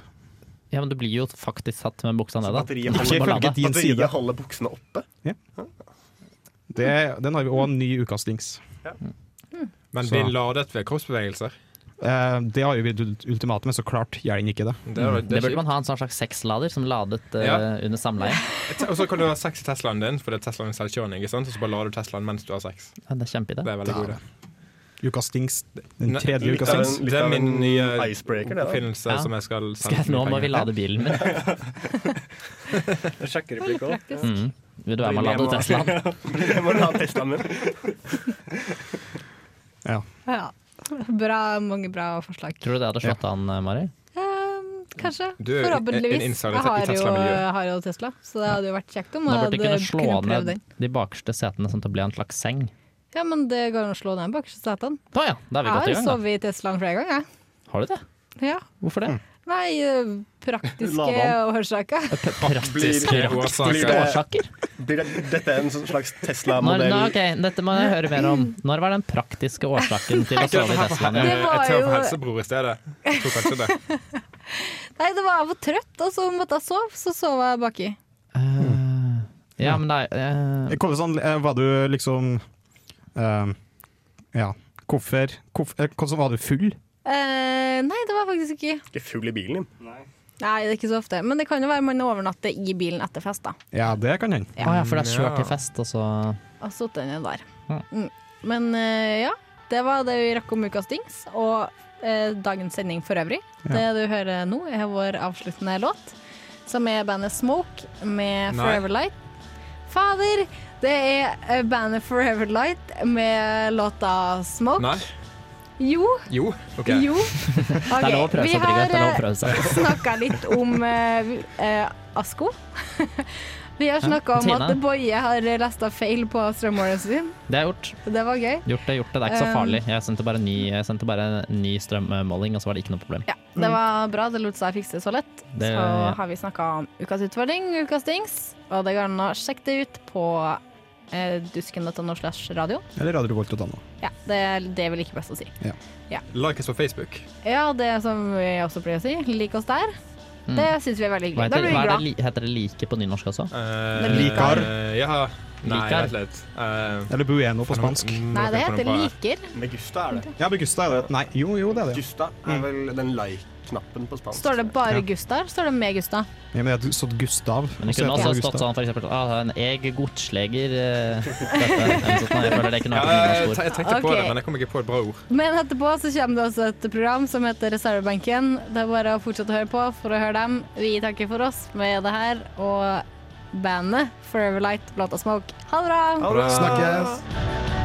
S4: Ja, men du blir jo faktisk satt med buksa nede.
S6: batteriet
S4: Ikke
S2: holder-
S4: på lada.
S2: Ikke din
S6: Batteriet
S2: side.
S6: holder buksene oppe.
S2: Det, den har vi òg en ny ukastings.
S3: Men
S2: Så-
S3: blir ladet ved kroppsbevegelser.
S2: Eh, det har jo vi det ultimate med, så klart gjør den ikke det.
S3: Det er,
S4: Det
S3: det er
S4: burde man
S3: kjipt.
S4: ha en sånn slags sexlader som ladet eh,
S3: Ja.
S4: under samleie.
S3: Og så kan du ha sex i Teslaen din, for det er Teslaen er selvkjørende. ikke sant? Og så bare lader du Teslaen mens du har sex.
S4: Ja, det er kjempeidé.
S3: Det er veldig god idé.
S2: Ukastings, den
S3: Nei,
S2: tredje
S6: Litt av
S2: ukastings.
S6: en, litt
S3: Det er
S6: av en
S3: min nye
S6: icebreaker, det. da.
S3: oppfinnelse
S4: Ja.
S3: som jeg skal
S4: Skal jeg, nå må vi lade bilen min.
S6: Jeg sjekker replikk også.
S4: Mm. Vil du være med og lade Teslaen?
S6: Jeg må la Teslaen min.
S2: Ja.
S1: Ja. Bra, mange bra forslag.
S4: Tror du det hadde slått an, eh, Mari?
S1: Ehm, kanskje.
S3: Du er jo en- en
S1: Forhåpentligvis.
S3: insider
S1: Jeg har
S3: i
S1: jo,
S3: Tesla-miljøet.
S1: jeg har jo Tesla, så det hadde jo vært kjekt om
S4: Man
S1: jeg
S4: burde
S1: hadde
S4: kunne slå
S1: kunne prøve
S4: ned
S1: den.
S4: de bakerste setene sånn at det ble en slags seng.
S1: Ja, men det går an å slå ned bak setene.
S4: Å ja, da er
S1: Jeg
S4: vi godt
S1: har
S4: i gang,
S1: sovet i Teslaen flere ganger.
S4: da. Har du det?
S1: jeg. Ja.
S4: Hvorfor
S3: Mm.
S4: det?
S1: Nei, eh, praktiske
S6: Ladan.
S1: årsaker.
S3: Praktiske
S6: blir
S3: årsaker.
S6: det-
S4: Årsaker?
S6: Blir det, dette er en sånn slags
S4: Når,
S6: Tesla-modell.
S4: nå, ok, dette må jeg høre mer om. Når var den praktiske årsaken til å sove i Teslaen?
S1: Det
S3: Jeg
S1: var
S3: tar
S1: jo-
S3: opp helsebror i stedet. Jeg tror kanskje det.
S1: Nei, det var jeg var trøtt, og så måtte jeg sove, så sov jeg baki.
S4: Eh, ja, men nei eh,
S2: Hvordan sånn, eh, var du liksom eh, Ja. Hvorfor hvorf- eh, Hvordan var du full?
S1: Eh, nei, det var jeg faktisk ikke.
S6: Ikke full i bilen din.
S1: Nei, det er ikke så ofte. Men det kan jo være man overnatter i bilen etter fest, da.
S2: Ja, det kan hende.
S4: Å ja, for du har kjørt til fest, og så
S1: Og satt den ned der.
S4: Ja.
S1: Mm. Men eh, ja, det var det vi rakk om ukas dings, og eh, dagens sending for øvrig. Det du hører nå, er vår avsluttende låt, som er bandet Smoke med
S3: Nei.
S1: Forever Light. Fader! Det er eh, bandet Forever Light med låta Smoke.
S3: Nei?
S1: Jo.
S3: Jo. OK.
S1: Jo.
S4: Det er lov å
S1: Ok,
S4: prøve
S1: Vi
S4: seg, Trygve. Det er lov å
S1: har
S4: prøve seg.
S1: snakka litt om eh, vi- eh, Asko. Vi har snakka om
S4: Tina.
S1: at Boje har lasta feil på strømmåleren sin.
S4: Det er gjort.
S1: Det var gøy.
S4: Gjort det, gjort det. Det er ikke så
S1: Um,
S4: farlig. Jeg sendte bare ny, jeg sendte bare en ny strømmåling, og så var det ikke noe problem.
S1: Ja, det var bra. Det lot seg fikse så lett.
S4: Mm. Det-
S1: så har vi snakka om ukas utfordring, ukas dings, og det går an å sjekke det ut på eh, dusken.no slash radio.
S2: Eller Radio Revolt og Danna.
S1: Ja, det er det vi liker best å si.
S3: Like oss på Facebook.
S1: Ja, det som vi også pleier å si, lik oss der.
S4: Mm.
S1: Det syns vi er veldig
S4: Hva
S1: hyggelig. Da
S4: heter,
S1: blir vi
S4: hva er det,
S1: glad.
S4: li- heter det like på nynorsk også?
S3: Eh,
S1: Det liker.
S3: eh, Ja. Nei,
S4: Liker.
S3: vent litt. Eh,
S2: Eller Bueno på spansk.
S1: Nei, det
S3: kan jeg
S1: heter
S3: komme på her.
S1: liker.
S6: Med Gusta er det. Mm.
S2: Ja, men Gusta er det. Nei, jo, jo, det er det.
S6: Gusta er vel den like-knappen på spansk.
S1: Står det
S2: Ja.
S1: bare Gustav? Står det med Gustav?
S2: Ja, men det er sånn Gustav.
S4: Men det
S2: Så heter
S4: kunne også
S2: det
S4: stått
S2: Gustav.
S4: sånn for eksempel ah, en eg godsleger eh, dette, eller sånt, Jeg føler det kunne
S3: Ja,
S4: vært et
S3: jeg,
S4: nynorsk ord.
S3: jeg tenkte på
S1: Ok.
S3: det, men jeg kom ikke på et bra ord.
S1: Men etterpå så kommer det også et program som heter Reservebenken. Det er bare å fortsette å høre på for å høre dem. Vi takker for oss med det her og bandet Forever Light, låta Smoke. Ha det bra!
S2: Snakkes!
S6: Snakkes!